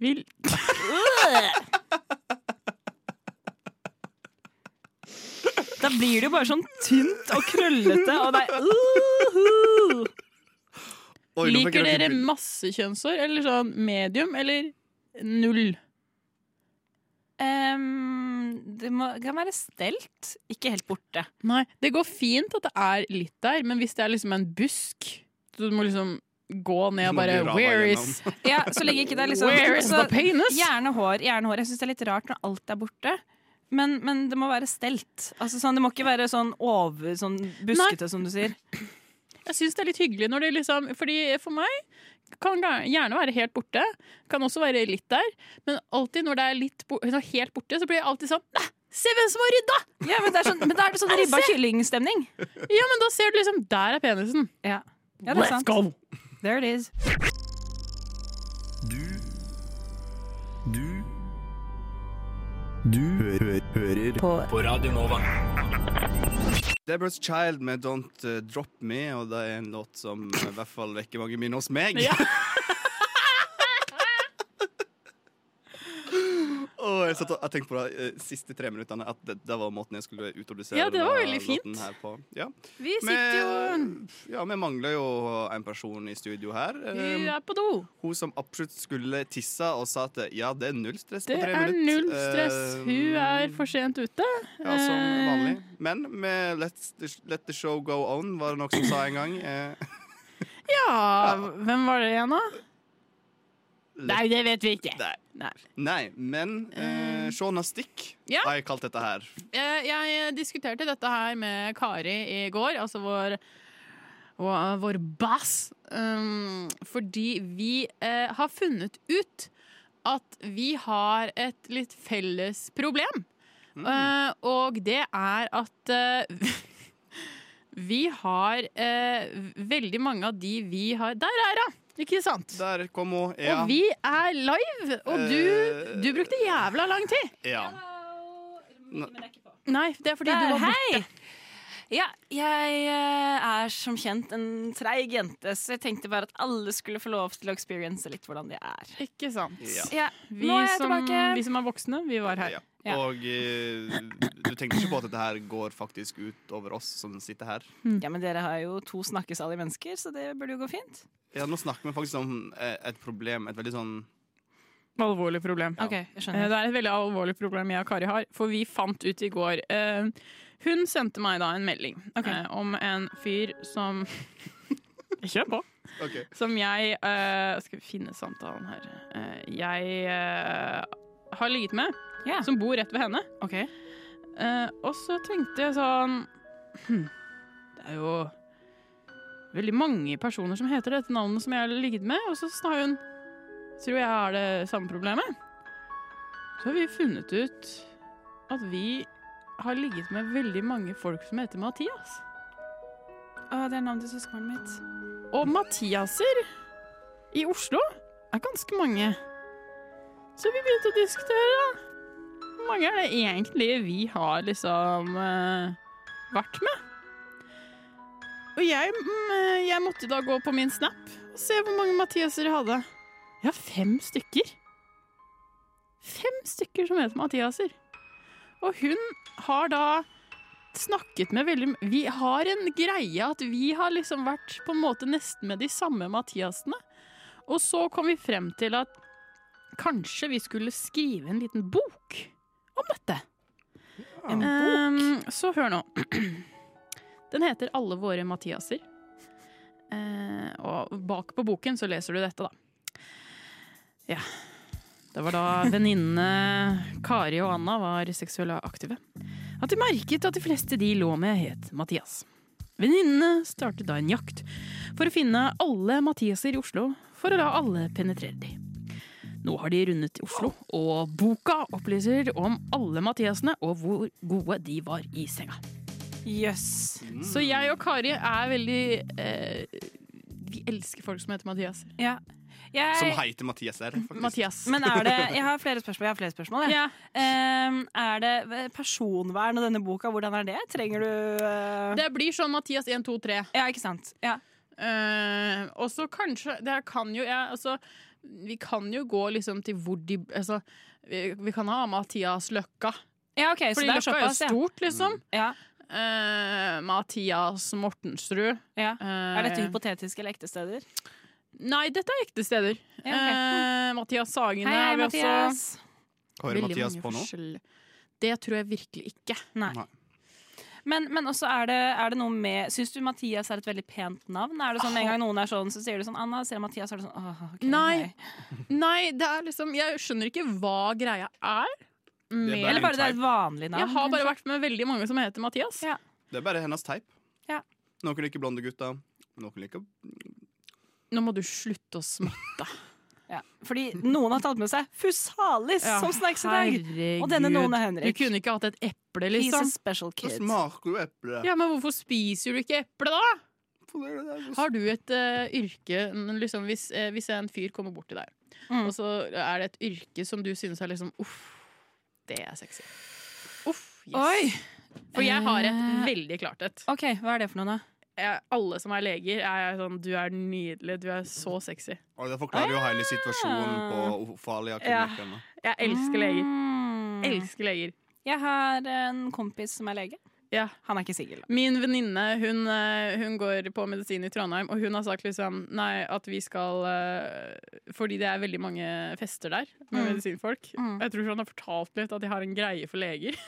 Speaker 5: Vil
Speaker 6: Da blir det jo bare sånn tynt og krøllete, og det er uhu.
Speaker 4: [LAUGHS] Oi, nå fikk
Speaker 5: Liker
Speaker 4: jeg
Speaker 5: dere
Speaker 4: ikke-
Speaker 5: masse kjønnshår, eller sånn medium, eller null?
Speaker 6: Ehm, det må, kan være stelt, ikke helt borte.
Speaker 5: Nei, det går fint at det er litt der, men hvis det er liksom en busk, så du må liksom gå ned og
Speaker 6: må
Speaker 5: bare
Speaker 6: du rava
Speaker 5: Where is
Speaker 4: [LAUGHS]
Speaker 6: gjennom." Ja, så lenge ikke det er liksom
Speaker 5: Where is
Speaker 6: så-
Speaker 5: the penis?
Speaker 6: Gjerne hår. Gjerne hår. Jeg syns det er litt rart når alt er borte. Men, men det må være stelt. Altså, sånn, det må ikke være sånn over sånn buskete, som du sier.
Speaker 5: Jeg syns det er litt hyggelig når det liksom Fordi for meg kan ga- gjerne være helt borte. Kan også være litt der. Men alltid når det er litt bo når helt borte, så blir jeg alltid sånn "Nei, Se hvem som har rydda!
Speaker 6: Ja, men, det er sånn, men da er det [LAUGHS] sånn ribba kyllingstemning.
Speaker 5: [LAUGHS] Ja, men da ser du liksom Der er penisen.
Speaker 6: Ja. det er
Speaker 5: Let's
Speaker 6: sant.
Speaker 5: go!
Speaker 6: There it is.
Speaker 13: Du Du Du hø hø hører på, på Radio Nova.
Speaker 4: Deborah's Child med Don't eh, Drop Me, og det er en låt som eh, i hvert fall vekker mange minner hos meg. [LAUGHS] Og jeg, satt og, jeg tenkte på de siste tre minuttene at det, det var måten jeg skulle utrodusere
Speaker 5: Ja, det var
Speaker 4: denne
Speaker 5: veldig
Speaker 4: låten
Speaker 5: fint.
Speaker 4: Her på. Ja.
Speaker 5: Vi sitter
Speaker 4: Men- Ja, vi mangler jo en person i studio her.
Speaker 5: Hun
Speaker 4: Eh,
Speaker 5: er på do.
Speaker 4: Hun som absolutt skulle tisse og sa at ja, det er null stress
Speaker 5: Det
Speaker 4: på tre
Speaker 5: er
Speaker 4: minutter.
Speaker 5: null stress.
Speaker 4: Eh,
Speaker 5: Hun er for sent ute.
Speaker 4: Ja, som
Speaker 5: Eh,
Speaker 4: vanlig. Men med let's, Let the show go on, var det noen som sa en gang. Eh, [LAUGHS]
Speaker 5: Ja, hvem var det igjen, da? Nei, det vet vi ikke. Nei.
Speaker 4: Nei, men eh, Shona Stick
Speaker 5: Ja.
Speaker 4: har jeg kalt dette her.
Speaker 5: Eh, Jeg diskuterte dette her med Kari i går, altså vår vår- vår bass, um, fordi vi eh, har funnet ut at vi har et litt felles problem. Eh, og det er at eh, [LAUGHS] vi har eh, veldig mange av de vi har Der er hun! Ikke sant?
Speaker 4: Der kom hun. Ja. Eh.
Speaker 5: Og vi er live! Og du, du brukte jævla lang tid.
Speaker 4: Ja.
Speaker 5: Nei, det er fordi
Speaker 6: Der,
Speaker 5: du var borte.
Speaker 6: hei! Ja, jeg eh, er som kjent en treig jente, så jeg tenkte bare at alle skulle få lov til å experience litt hvordan de er.
Speaker 5: Ikke sant.
Speaker 4: Ja.
Speaker 6: Ja,
Speaker 5: Vi,
Speaker 6: nå er jeg
Speaker 5: som,
Speaker 6: tilbake.
Speaker 5: vi som er voksne, vi var her. Ja.
Speaker 4: Og eh, du tenker ikke på at dette her går faktisk ut over oss som sitter her?
Speaker 6: Ja, men dere har jo to snakkesalige mennesker, så det burde jo gå fint.
Speaker 4: Ja, nå snakker vi faktisk om eh, et problem, et veldig sånn
Speaker 5: Alvorlig problem.
Speaker 6: Ok, jeg skjønner.
Speaker 5: Eh, Det er et veldig alvorlig problem jeg og Kari har, for vi fant ut i går eh, Hun sendte meg da en melding eh, om en fyr som Kjør på!
Speaker 4: Ok.
Speaker 5: Som jeg eh, Skal vi finne samtalen her Eh, Jeg eh, har ligget med, som bor rett ved henne. Eh, og så tenkte jeg sånn hm, Det er jo veldig mange personer som heter dette navnet som jeg har ligget med, og så sa hun Tror jeg har det samme problemet. Så har vi funnet ut at vi har ligget med veldig mange folk som heter Mathias.
Speaker 6: Å, det er navnet til søskenbarnet mitt.
Speaker 5: Og Mathiaser i Oslo er ganske mange. Så vi begynte å diskutere, da. Hvor mange er det egentlig vi har liksom eh, vært med? Og jeg, mm, eh, jeg måtte da gå på min snap og se hvor mange Mathiaser jeg hadde. Jeg har fem stykker. Fem stykker som heter Mathiaser. Og hun har da snakket med veldig Vi har en greie at vi har liksom vært på en måte nesten med de samme Mathiasene. Og så kom vi frem til at kanskje vi skulle skrive en liten bok om dette.
Speaker 11: En
Speaker 5: Ehm, så hør nå. [CLEARS THROAT] Den heter 'Alle våre Mathiaser'. Eh, og bak på boken så leser du dette, da. Ja. Det var da venninnene Kari og Anna var seksuelt aktive. At de merket at de fleste de lå med, het Mathias. Venninnene startet da en jakt for å finne alle Mathiaser i Oslo, for å la alle penetrere de. Nå har de rundet i Oslo, og boka opplyser om alle Mathiasene og hvor gode de var i senga.
Speaker 6: Jøss.
Speaker 5: Så jeg og Kari er veldig eh, Vi elsker folk som heter Mathias.
Speaker 6: Ja. Jeg-
Speaker 4: Som heter Mathias her,
Speaker 5: Mm.
Speaker 4: faktisk.
Speaker 5: Mathias.
Speaker 6: [LAUGHS] Men er det Jeg har flere spørsmål. Jeg har flere spørsmål jeg.
Speaker 5: Ja.
Speaker 6: Ehm, er det personvern og denne boka, hvordan er det? Trenger du eh,
Speaker 5: Det blir sånn Mathias 1, 2, 3.
Speaker 6: Ja, ikke sant. Ja.
Speaker 5: Eh, og så kanskje Det her kan jo jeg, altså, Vi kan jo gå liksom til hvor de altså, vi, vi kan ha Mathias Løkka.
Speaker 6: Ja, ok, så
Speaker 5: Fordi
Speaker 6: det er
Speaker 5: Løkka er jo
Speaker 6: såpass, ja.
Speaker 5: stort, liksom.
Speaker 6: Ja.
Speaker 5: Eh, Mathias Mortensrud. Eh,
Speaker 6: Er dette hypotetiske eller ekte steder?
Speaker 5: Nei, dette er ekte steder.
Speaker 6: Ja, ok.
Speaker 5: Eh, Mathias Sagene
Speaker 6: Hei, hei,
Speaker 5: har vi
Speaker 6: Mathias.
Speaker 5: også.
Speaker 4: Hører
Speaker 5: Veldig
Speaker 4: Mathias
Speaker 5: mange
Speaker 4: på nå?
Speaker 5: forskjell- Det tror jeg virkelig ikke.
Speaker 6: Nei. Men, men også er det, er det noe med Syns du Mathias er et veldig pent navn? Er det sånn med en gang noen er sånn, så sier du sånn Anna, ser du Mathias, så er det sånn åh, ok,
Speaker 5: Nei. [LAUGHS] Nei, det er liksom Jeg skjønner ikke hva greia er.
Speaker 4: er
Speaker 5: Med,
Speaker 4: bare Eller bare en det er et
Speaker 6: vanlig
Speaker 4: navn,
Speaker 5: Jeg har bare
Speaker 4: kanskje?
Speaker 5: vært med veldig mange som heter Mathias.
Speaker 4: Det er bare hennes teip.
Speaker 6: Ja.
Speaker 4: Noen liker blonde gutter. Noen liker
Speaker 5: Nå må du slutte å smatte.
Speaker 6: Ja. Fordi noen har tatt med seg Fusalis
Speaker 5: Ja,
Speaker 6: som snacks i dag! Og denne
Speaker 5: herregud.
Speaker 6: noen er Henrik.
Speaker 5: Du kunne ikke hatt et eple,
Speaker 6: He's a
Speaker 5: liksom.
Speaker 6: special kid.
Speaker 4: smaker jo eple.
Speaker 5: Ja, men hvorfor spiser du ikke eple, da? Har du et eh, yrke n- liksom, hvis, eh, hvis en fyr kommer bort til deg, og så er det et yrke som du synes er liksom Uff, det er sexy. Uff, yes. For jeg har et
Speaker 6: Eh,
Speaker 5: veldig klart et.
Speaker 6: OK, hva er det for noe, da?
Speaker 5: Jeg, alle som er leger, er sånn Du er nydelig, du er så sexy.
Speaker 4: Og det forklarer jo hele situasjonen på
Speaker 5: Ah.
Speaker 4: Ofalia klinikken. da.
Speaker 5: Jeg elsker leger.
Speaker 6: Mm.
Speaker 5: Elsker leger.
Speaker 6: Jeg har en kompis som er lege. Han er ikke singel.
Speaker 5: Min venninne hun, eh, hun går på medisin i Trondheim, og hun har sagt liksom Nei, at vi skal eh, Fordi det er veldig mange fester der med
Speaker 6: Mm.
Speaker 5: medisinfolk. Og Jeg tror han har fortalt litt at de har en greie for leger. [LAUGHS]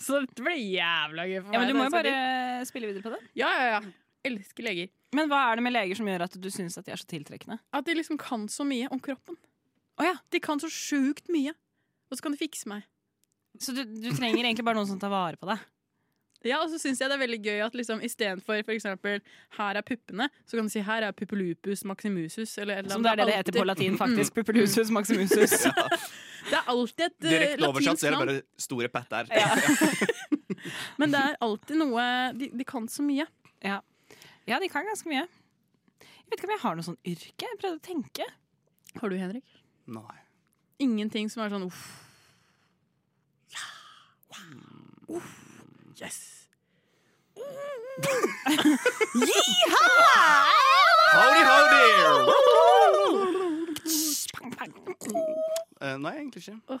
Speaker 5: Så det blir jævla gøy for meg.
Speaker 6: Ja, men du
Speaker 5: når
Speaker 6: må jo
Speaker 5: jeg skal
Speaker 6: bare
Speaker 5: dit.
Speaker 6: spille videre på det.
Speaker 5: Ja, ja, ja. Elsker leger.
Speaker 6: Men hva er det med leger som gjør at du syns at de er så tiltrekkende?
Speaker 5: At de liksom kan så mye om kroppen. De kan så sjukt mye. Og så kan de fikse meg.
Speaker 6: Så du, du trenger egentlig bare noen som tar vare på
Speaker 5: [LAUGHS]
Speaker 6: deg?
Speaker 5: Ja, og så syns jeg det er veldig gøy at liksom, istedenfor for eksempel 'her er puppene', så kan du si 'her er puppelupus maximusus'. Eller, et eller
Speaker 6: Som det er det det
Speaker 5: alltid-
Speaker 6: heter på latin, faktisk.
Speaker 5: Mm.
Speaker 6: Puppelusus maximusus.
Speaker 5: [LAUGHS] Det er alltid et eh,
Speaker 4: Direkte oversatt
Speaker 5: latinsk
Speaker 4: så er det
Speaker 5: navn,
Speaker 4: bare store patter.
Speaker 5: men det er alltid noe De, de kan så mye.
Speaker 6: Ja. ja, de kan ganske mye. Jeg vet ikke om jeg har noe sånn yrke. Jeg prøvde å tenke.
Speaker 5: Har du, Henrik?
Speaker 4: Nei.
Speaker 5: Ingenting som er sånn uff. Ja. Wow. Uff. Yes.
Speaker 4: Howdy,
Speaker 6: howdy!
Speaker 4: Eh, nei, egentlig ikke.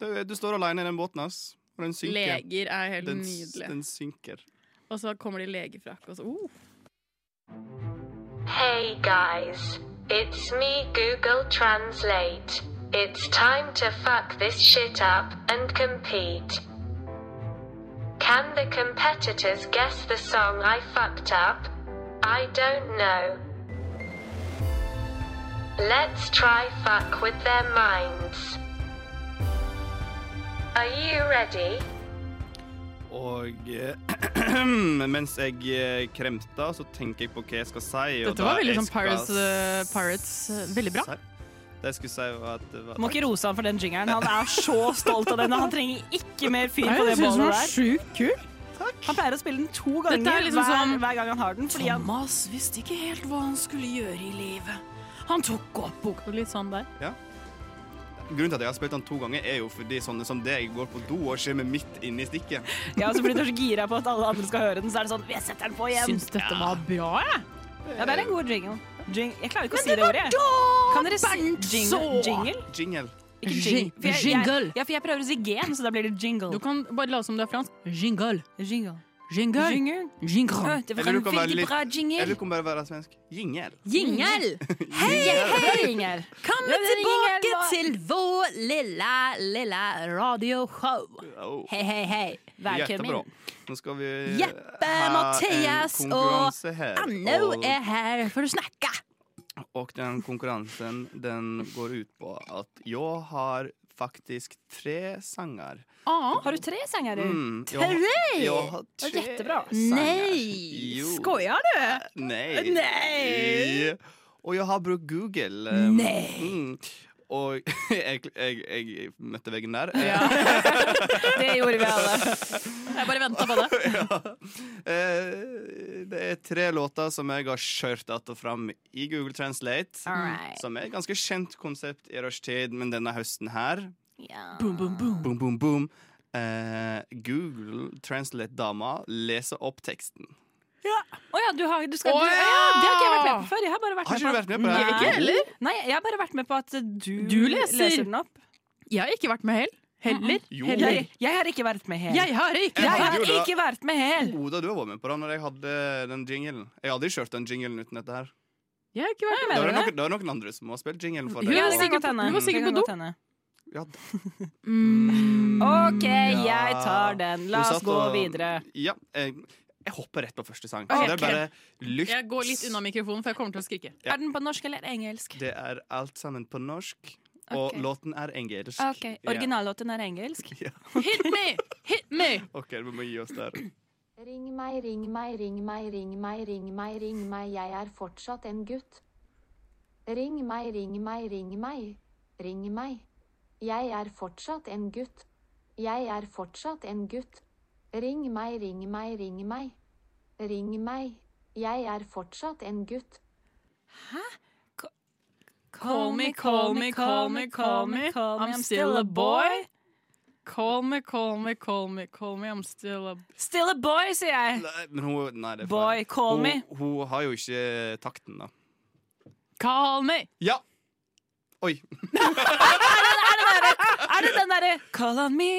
Speaker 4: Du, du står alene i den båten, ass. Og den synker.
Speaker 5: Leger er helt
Speaker 4: den, s-
Speaker 5: nydelig.
Speaker 4: Den synker.
Speaker 5: Og så kommer det i legefrakk, og så oh.
Speaker 14: Hey guys, it's me Google Translate. It's time to fuck this shit up and compete. Can the competitors guess the song I fucked up? I don't know. Let's try fuck with their minds. Are you ready?
Speaker 4: Og eh, [CLEARS THROAT] mens jeg eh, kremter, så tenker jeg på hva jeg skal si. og
Speaker 5: Dette
Speaker 4: da
Speaker 5: var veldig
Speaker 4: jeg
Speaker 5: sånn
Speaker 4: skal
Speaker 5: Pirates, eh, Pirates eh, Veldig bra.
Speaker 4: Det jeg skulle si, var at det var
Speaker 6: Må ikke rose han for den jingeren. Han er så stolt av den. og Han trenger ikke mer fyr
Speaker 5: Nei,
Speaker 6: på
Speaker 5: jeg
Speaker 6: det
Speaker 5: synes
Speaker 6: bålet
Speaker 5: den var
Speaker 6: der.
Speaker 5: Sjukt kul.
Speaker 6: Han pleier å spille den to
Speaker 5: Dette
Speaker 6: ganger
Speaker 5: er liksom
Speaker 6: hver,
Speaker 5: som-
Speaker 6: hver gang han har den. Fordi han
Speaker 5: Thomas visste ikke helt hva han skulle gjøre i livet. Han tok opp boka litt sånn der.
Speaker 4: Ja. grunnen til at jeg har spilt den to ganger, er jo fordi sånne som deg går på do og skjemmer midt inne i stikket.
Speaker 6: Ja, altså fordi du er så gira på at alle andre skal høre den, så er det sånn Vi setter den på igjen.
Speaker 4: Syns dette
Speaker 5: var bra, jeg.
Speaker 6: Ja, det er en god jingle. Jing jeg klarer ikke å
Speaker 5: Men
Speaker 6: si
Speaker 5: det
Speaker 6: det
Speaker 5: var
Speaker 6: ordet, jeg.
Speaker 5: da,
Speaker 6: Kan dere
Speaker 5: Bernt,
Speaker 6: si jingle?
Speaker 5: så!
Speaker 6: jingle?
Speaker 4: Jingle.
Speaker 6: Ikke jing. For jeg, jeg,
Speaker 5: Jingle.
Speaker 6: ja, for jeg prøver å si gen, så da blir det jingle.
Speaker 5: Du kan bare late som du er fransk. Jingle.
Speaker 6: Jingle.
Speaker 5: Jingle.
Speaker 6: Jingle.
Speaker 5: Jingle.
Speaker 6: Ja, det var Eller du en kan være veldig litt- bra jingle.
Speaker 4: Eller du kan bare være svensk. Jingel.
Speaker 15: Jingel! Jingel. Kom tilbake til vår lille, lille radioshow.
Speaker 4: Oh.
Speaker 15: Hei, hei, hei.
Speaker 4: Jättebra.
Speaker 15: Velkommen.
Speaker 4: Nå skal vi
Speaker 15: Jeppe,
Speaker 4: ha en
Speaker 15: Mathias og
Speaker 4: konkurranse her,
Speaker 15: Anno
Speaker 4: og-
Speaker 15: er her for å snakke.
Speaker 4: Og den konkurransen den går ut på at jeg har faktisk tre sanger.
Speaker 6: Har du tre sanger?
Speaker 4: Mm,
Speaker 6: du?
Speaker 4: jeg har- Tre? jeg har
Speaker 6: Det er Jättebra.
Speaker 4: Nei! Jo.
Speaker 6: Skojar du?
Speaker 4: Nei.
Speaker 6: Nei.
Speaker 4: Og jeg har brukt Google.
Speaker 6: Nei.
Speaker 4: Mm. [LAUGHS] Og jeg, jeg, jeg møtte veggen der.
Speaker 6: Det gjorde vi
Speaker 5: [LAUGHS]
Speaker 6: alle. Jeg bare venta på
Speaker 4: [LAUGHS]
Speaker 6: det.
Speaker 4: Eh, Det er tre låter som jeg har kjørt att og fram i Google Translate.
Speaker 6: Alright.
Speaker 4: Som er et ganske kjent konsept i rushtid, men denne høsten her
Speaker 12: Boom, boom, boom.
Speaker 4: Boom, boom, boom. Eh, Google Translate-dama leser opp teksten.
Speaker 6: Å ja, du har, du skal,
Speaker 5: Å
Speaker 6: du, ja,
Speaker 5: ja!
Speaker 6: det har ikke jeg vært med på før. Jeg har bare vært
Speaker 4: Har
Speaker 6: med
Speaker 4: ikke du
Speaker 6: på
Speaker 4: vært med på det?
Speaker 5: Ikke heller.
Speaker 6: Nei, jeg har bare vært med på at du,
Speaker 5: Du leser.
Speaker 6: den opp.
Speaker 5: Jeg har ikke vært med hel. Heller.
Speaker 4: Jo.
Speaker 5: Heller.
Speaker 6: Jeg, jeg har ikke vært med hel.
Speaker 5: Jeg har ikke
Speaker 6: Jeg
Speaker 4: vært-
Speaker 6: har
Speaker 4: Jo, da-
Speaker 6: ikke vært med hel.
Speaker 4: Oda, du har vært med på det når jeg hadde den jingelen. Jeg hadde ikke kjørt den jingelen uten dette her.
Speaker 5: Jeg har ikke vært
Speaker 4: Da er
Speaker 5: med
Speaker 4: det
Speaker 5: på
Speaker 4: noen, da er det noen andre som har spilt jingelen for
Speaker 5: Hun
Speaker 4: deg.
Speaker 5: var sikkert, hun var sikkert på do.
Speaker 4: Ja,
Speaker 5: Mm.
Speaker 6: OK, jeg tar den. La
Speaker 4: Hun
Speaker 6: oss
Speaker 4: satt
Speaker 6: gå
Speaker 4: og-
Speaker 6: videre.
Speaker 4: Ja, jeg, jeg hopper rett på første sang.
Speaker 5: Ok.
Speaker 4: Så det er bare lytt.
Speaker 5: Jeg går litt unna mikrofonen, for jeg kommer til å skrike.
Speaker 4: Ja.
Speaker 6: Er den på norsk eller engelsk?
Speaker 4: Det er alt sammen på norsk, og
Speaker 6: Ok.
Speaker 4: låten er engelsk.
Speaker 6: Ok,
Speaker 4: Ja.
Speaker 6: Originallåten er engelsk?
Speaker 4: [LAUGHS] Ja.
Speaker 6: Hit me! Hit me!
Speaker 4: OK, vi må gi oss der.
Speaker 3: Ring meg, ring meg, ring meg, ring meg, ring meg, ring meg, jeg er fortsatt en gutt. Ring meg, ring meg, ring meg, ring meg. Jeg er fortsatt en gutt. Jeg er fortsatt en gutt. Ring meg, ring meg, ring meg. Ring meg. Jeg er fortsatt en gutt.
Speaker 5: Call me, call me, call me, call me. I'm still a boy. Call me, call me, call me, call me. I'm still a
Speaker 6: Still a boy, sier jeg.
Speaker 4: Nei, Men hun Nei, det er feil.
Speaker 6: Boy, call
Speaker 4: hun,
Speaker 6: me.
Speaker 4: Hun har jo ikke takten, da.
Speaker 5: Call me!
Speaker 4: Ja! Oi.
Speaker 6: Er det den derre Call on me,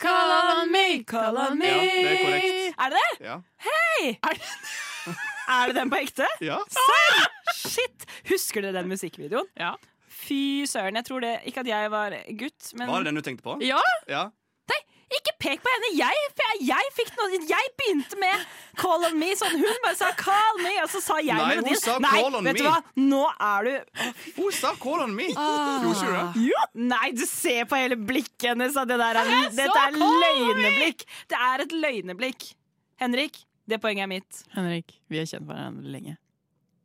Speaker 6: call on me, call on me?
Speaker 4: Ja, det er korrekt.
Speaker 6: Er det det?
Speaker 4: Ja.
Speaker 6: Hei! Er det, er det den på ekte?
Speaker 4: Ja.
Speaker 6: Serr? Shit! Husker dere den musikkvideoen? Ja. Fy søren. Jeg tror det Ikke at jeg var gutt, men
Speaker 4: Var det den du tenkte på?
Speaker 6: Ja.
Speaker 4: ja.
Speaker 6: Nei, ikke pek på henne! Jeg, jeg, jeg fikk noe Jeg begynte med 'call on me', sånn. Hun bare sa 'call me', og så sa jeg
Speaker 4: Nei, hun
Speaker 6: melodien.
Speaker 4: sa
Speaker 6: Nei,
Speaker 4: 'call on
Speaker 6: vet du
Speaker 4: me'.
Speaker 6: hva? Nå er du
Speaker 4: Hun sa 'call on me'.
Speaker 6: Gjorde
Speaker 4: ikke du
Speaker 6: Jo. Nei, du ser på hele blikket hennes at det der er,
Speaker 5: Jeg
Speaker 6: dette
Speaker 5: sa
Speaker 6: er
Speaker 5: call on me!
Speaker 6: løgneblikk. Det er et løgneblikk. Henrik, det poenget er mitt.
Speaker 5: Henrik, vi har kjent hverandre lenge.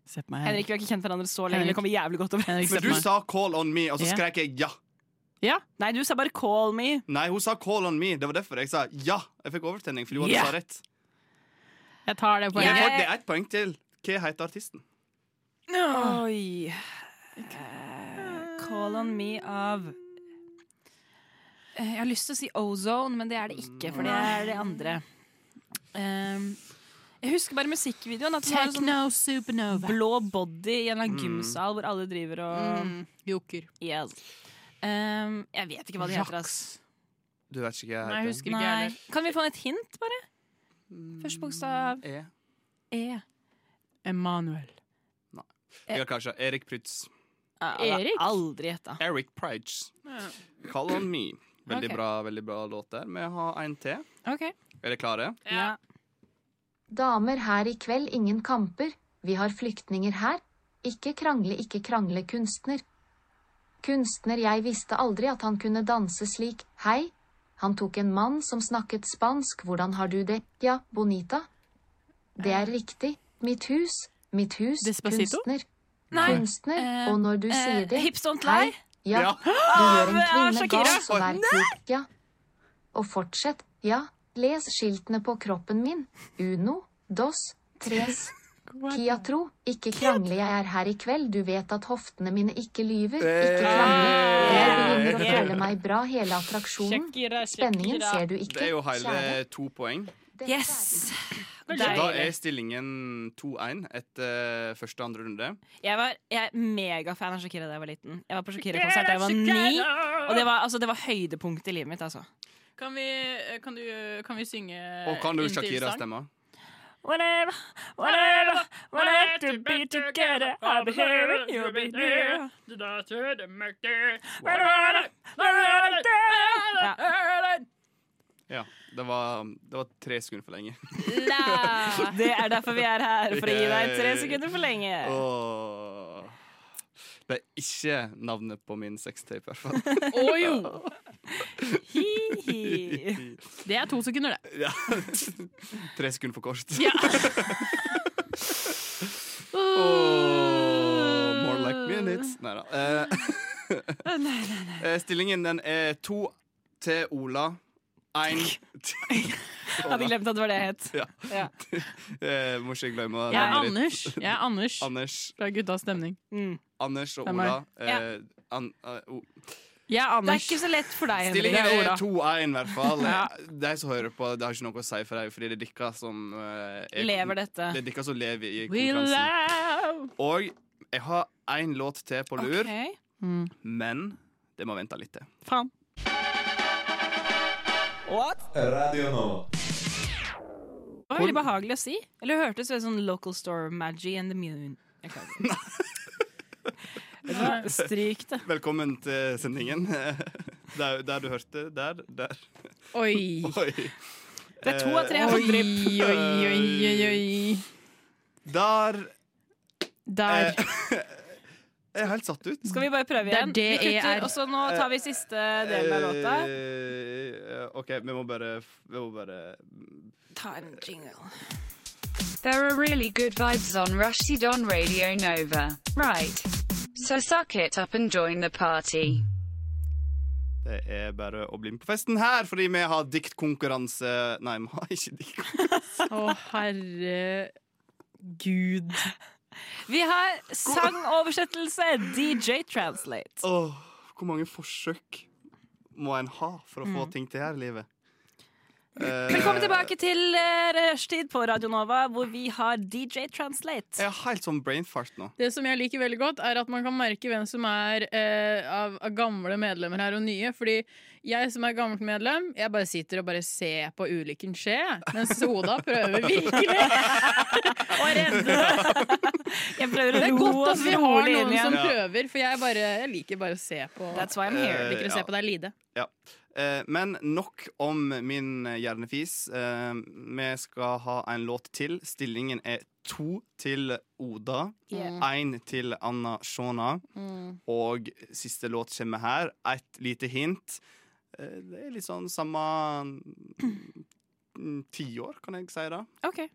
Speaker 5: Se på meg.
Speaker 6: Henrik, Vi har ikke kjent hverandre så lenge.
Speaker 5: Henrik.
Speaker 6: Det kommer jævlig godt
Speaker 5: Henrik,
Speaker 6: overens.
Speaker 5: se på meg.
Speaker 4: sa 'call on me', og så
Speaker 5: Ja.
Speaker 4: skrek jeg 'ja'.
Speaker 6: Nei, du sa bare 'call me'.
Speaker 4: Nei, hun sa 'call on me'. Det var derfor jeg sa ja. Jeg fikk overtenning fordi hun
Speaker 5: Ja.
Speaker 4: hadde sa rett.
Speaker 5: Jeg tar det
Speaker 4: Men
Speaker 5: poenget.
Speaker 4: Det er et poeng til. Hva heter artisten?
Speaker 6: Oi. Eh, Call on me av Eh, Jeg har lyst til å si Ozone, men det er det ikke, for det er det andre. Um, jeg husker bare musikkvideoen. At det var en sånn
Speaker 5: Techno supernova.
Speaker 6: blå body i en eller annen
Speaker 5: Mm.
Speaker 6: gymsal hvor alle driver og
Speaker 5: Mm. Joker.
Speaker 6: Yes. Um, jeg vet ikke hva de heter. Ass.
Speaker 4: Du vet ikke hva jeg
Speaker 5: Nei, jeg
Speaker 4: heter.
Speaker 5: husker ikke jeg heller.
Speaker 6: Kan vi få et hint, bare? Første bokstav
Speaker 4: E.
Speaker 6: E.
Speaker 5: Emanuel.
Speaker 4: Jeg har kanskje Erik Prytz.
Speaker 5: Erik?
Speaker 6: Aldri gjetta.
Speaker 4: Erik Prytz. Call on me. Veldig
Speaker 6: Ok.
Speaker 4: bra veldig bra låt der. Men jeg har en til.
Speaker 6: Ok.
Speaker 4: Er dere klare?
Speaker 3: Damer her i kveld, ingen kamper. Vi har flyktninger her. Ikke krangle, ikke krangle, kunstner. Kunstner, jeg visste aldri at han kunne danse slik. Hei. Han tok en mann som snakket spansk. Hvordan har du det? Ja, bonita. Det er riktig. Mitt hus. Mitt hus.
Speaker 5: Despacito?
Speaker 3: Kunstner.
Speaker 6: Nei.
Speaker 3: Kunstner. Og når du
Speaker 6: eh,
Speaker 3: sier det
Speaker 6: hips don't
Speaker 3: Hei.
Speaker 6: lie?
Speaker 3: Ja.
Speaker 6: Ja.
Speaker 3: Du gjør en
Speaker 6: Ah,
Speaker 3: kvinne
Speaker 6: Shakira.
Speaker 3: gal, så vær
Speaker 6: Nei!
Speaker 3: klok. Ja. Og [LAUGHS] fortsett. Ja, les skiltene på kroppen min. Uno, dos, tres. Kia tro, ikke krangle, jeg er her i kveld, du vet at hoftene mine ikke lyver,
Speaker 4: Eh.
Speaker 3: ikke krangle. Jeg begynner å
Speaker 4: Eh.
Speaker 3: føle meg bra, hele attraksjonen. Spenningen ser du ikke,
Speaker 4: Det er jo eh,
Speaker 3: kjære.
Speaker 4: hele to poeng.
Speaker 6: Yes!
Speaker 4: Så da er stillingen 2-1 etter første og andre runde.
Speaker 5: Eh,
Speaker 6: Jeg var jeg er megafan av Shakira da jeg var liten. Jeg var på Shakira-konsert da jeg var ni, og det var, altså, det var høydepunktet i livet mitt. altså
Speaker 5: Kan vi, eh, kan du, kan vi synge
Speaker 4: Og kan du
Speaker 5: inntil sang?
Speaker 4: Shakira-stemma?
Speaker 5: Whenever, whenever, we have to be together, I'll be here and you'll be there. [LAUGHS]
Speaker 4: Ja. Det var, det var tre sekunder for lenge.
Speaker 6: Det er derfor vi er her, for å gi deg tre sekunder for lenge.
Speaker 5: Eh.
Speaker 4: Åh. Det er ikke navnet på min sextape, i hvert fall. [LAUGHS]
Speaker 5: Å jo! Det er to sekunder, det.
Speaker 4: Ja. Tre sekunder for kort.
Speaker 5: Ja.
Speaker 4: Åh, more like minutes. Neida. Eh,
Speaker 6: Å, nei, nei, nei.
Speaker 4: [LAUGHS] eh, stillingen den er to til Ola. Én til
Speaker 6: Jeg hadde glemt at det var det jeg het.
Speaker 4: Ja.
Speaker 6: Ja.
Speaker 4: Eh, Må ikke glemme
Speaker 5: Jeg er
Speaker 4: navnet ditt.
Speaker 5: Anders. Jeg er Anders.
Speaker 4: Anders.
Speaker 5: Fra guttas stemning.
Speaker 6: Mm.
Speaker 4: Anders og
Speaker 5: Det er
Speaker 4: Ola.
Speaker 5: meg.
Speaker 4: Eh, an, eh, o-
Speaker 6: Det
Speaker 5: Jeg er Anders.
Speaker 6: er ikke så lett for deg, Henrik.
Speaker 4: Stillingen
Speaker 6: Det
Speaker 4: er
Speaker 6: Ola.
Speaker 4: 2-1, i hvert fall.
Speaker 6: [LAUGHS] Ja.
Speaker 4: De som hører på, det har ikke noe å si for deg, fordi det er dere som eh, er,
Speaker 6: Lever dette.
Speaker 4: Det er dere som lever i
Speaker 6: We
Speaker 4: konkurransen.
Speaker 6: love-
Speaker 4: Og jeg har én låt til på lur,
Speaker 6: Ok.
Speaker 4: men det må vente litt til.
Speaker 6: Faen. What?
Speaker 1: Radio Nova.
Speaker 6: Det var veldig behagelig å si. Eller det hørtes veldig sånn local store magic and the moon. Jeg [LAUGHS] klarer ikke. Stryk det.
Speaker 4: Velkommen til sendingen. [LAUGHS] Der, der du hørte. Der, der.
Speaker 5: Oi.
Speaker 4: Det Eh,
Speaker 5: er to av
Speaker 6: Eh,
Speaker 5: tre jeg har fått drypp. Oi, oi, oi, oi, oi.
Speaker 4: Der eh,
Speaker 5: Der.
Speaker 4: [LAUGHS] Jeg er helt satt ut.
Speaker 6: Skal vi bare prøve
Speaker 5: Det er
Speaker 6: igjen?
Speaker 5: det
Speaker 6: vi kutter,
Speaker 5: ER.
Speaker 6: og så nå tar vi siste delen av låta.
Speaker 4: Eh, OK, vi må bare, vi må bare
Speaker 6: Ta en jingle.
Speaker 16: There are really good vibes on Rushdie on Radio Nova. Right. So suck it up and join the party.
Speaker 4: Det er bare å bli med på festen her, fordi vi har diktkonkurranse Nei, vi har ikke dikt.
Speaker 5: Å, herregud.
Speaker 6: Vi har sangoversettelse. DJ Translate.
Speaker 4: Åh, hvor mange forsøk må en ha for å få
Speaker 6: Mm.
Speaker 4: ting til her i livet?
Speaker 6: Velkommen tilbake til eh, Rushtid på Radio Nova, hvor vi har DJ Translate.
Speaker 4: Jeg har helt sånn brain fart nå.
Speaker 5: Det som jeg liker veldig godt, er at man kan merke hvem som er eh, av, av gamle medlemmer her og nye. Fordi jeg som er gammelt medlem, jeg bare sitter og bare ser på ulykken skje. Mens Oda prøver virkelig [LAUGHS] å redde det.
Speaker 6: Jeg prøver å
Speaker 5: Det er
Speaker 6: ro
Speaker 5: godt at
Speaker 6: oss
Speaker 5: vi har
Speaker 6: rolig inn
Speaker 5: noen
Speaker 6: igjen.
Speaker 5: som
Speaker 4: Ja.
Speaker 5: prøver, for jeg bare jeg liker bare å se på
Speaker 6: That's why I'm here.
Speaker 5: Jeg liker å
Speaker 4: Eh, ja.
Speaker 5: se på deg lide.
Speaker 4: Ja. Eh, men nok om min hjernefis. Eh, vi skal ha en låt til. Stillingen er to til Oda,
Speaker 5: Yeah.
Speaker 4: én til Anna Shona.
Speaker 5: Mm.
Speaker 4: Og siste låt kommer her. Et lite hint. Eh, det er litt sånn samme mm, tiår, kan jeg si det.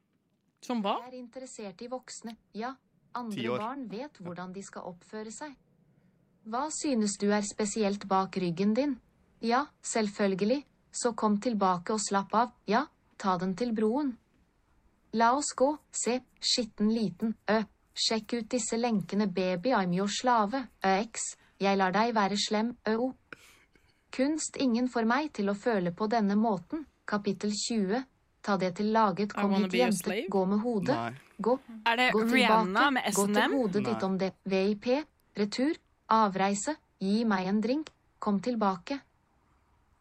Speaker 5: Som hva?
Speaker 3: Jeg er interessert i voksne, ja.
Speaker 4: Ti
Speaker 3: Andre
Speaker 4: år.
Speaker 3: barn vet hvordan de skal oppføre seg. Hva synes du er spesielt bak ryggen din? Ja, selvfølgelig. Så kom tilbake og slapp av, ja, ta den til broen. La oss gå, se, skitten liten, ø. Sjekk ut disse lenkene, baby, I'm your slave, øx. Jeg lar deg være slem, øo. Kunst ingen får meg til å føle på denne måten. Kapittel 20. Ta det til laget, kom
Speaker 6: wanna
Speaker 3: hit
Speaker 6: be your
Speaker 3: jente,
Speaker 6: slave?
Speaker 3: gå med hodet.
Speaker 4: Nei.
Speaker 3: Gå,
Speaker 6: Er det
Speaker 3: gå tilbake,
Speaker 6: Rihanna med
Speaker 3: gå til
Speaker 6: S&M?
Speaker 3: hodet ditt
Speaker 6: Nei.
Speaker 3: om det. VIP, retur, avreise, gi meg en drink, kom tilbake.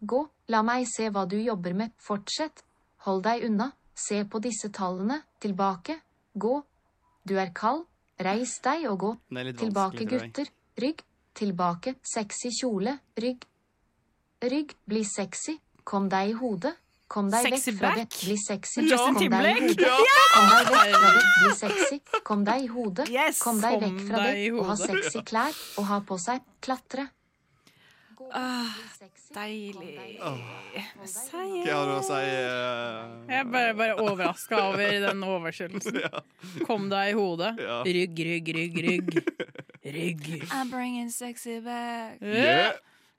Speaker 3: Gå, la meg se hva du jobber med, fortsett. Hold deg unna, se på disse tallene, tilbake, gå. Du er kald, reis deg og gå.
Speaker 4: Det er litt
Speaker 3: Tilbake,
Speaker 4: vanskelig, tror jeg.
Speaker 3: gutter. Rygg. Tilbake. Sexy kjole. Rygg. Rygg. Bli sexy. Kom deg i hodet. Kom deg
Speaker 6: Sexy
Speaker 3: vekk fra
Speaker 6: back.
Speaker 3: det. Bli sexy.
Speaker 6: Justin
Speaker 3: Kom deg i
Speaker 6: Timberlake.
Speaker 3: hodet.
Speaker 6: Ja.
Speaker 3: Kom deg vekk fra det. Bli sexy. Kom deg i hodet. Kom deg
Speaker 6: Kom
Speaker 3: vekk fra
Speaker 6: deg
Speaker 3: det.
Speaker 6: i
Speaker 3: Og ha
Speaker 6: hodet.
Speaker 3: sexy klær. Og ha på seg. Klatre.
Speaker 6: Ah, deilig. Seier.
Speaker 4: Hva har du å si? eh,
Speaker 5: Jeg er bare, bare overraska over den oversettelsen. Kom deg i hodet. Rygg, rygg, rygg, rygg. Rygg.
Speaker 6: I'm bringing sexy back.
Speaker 5: Yeah.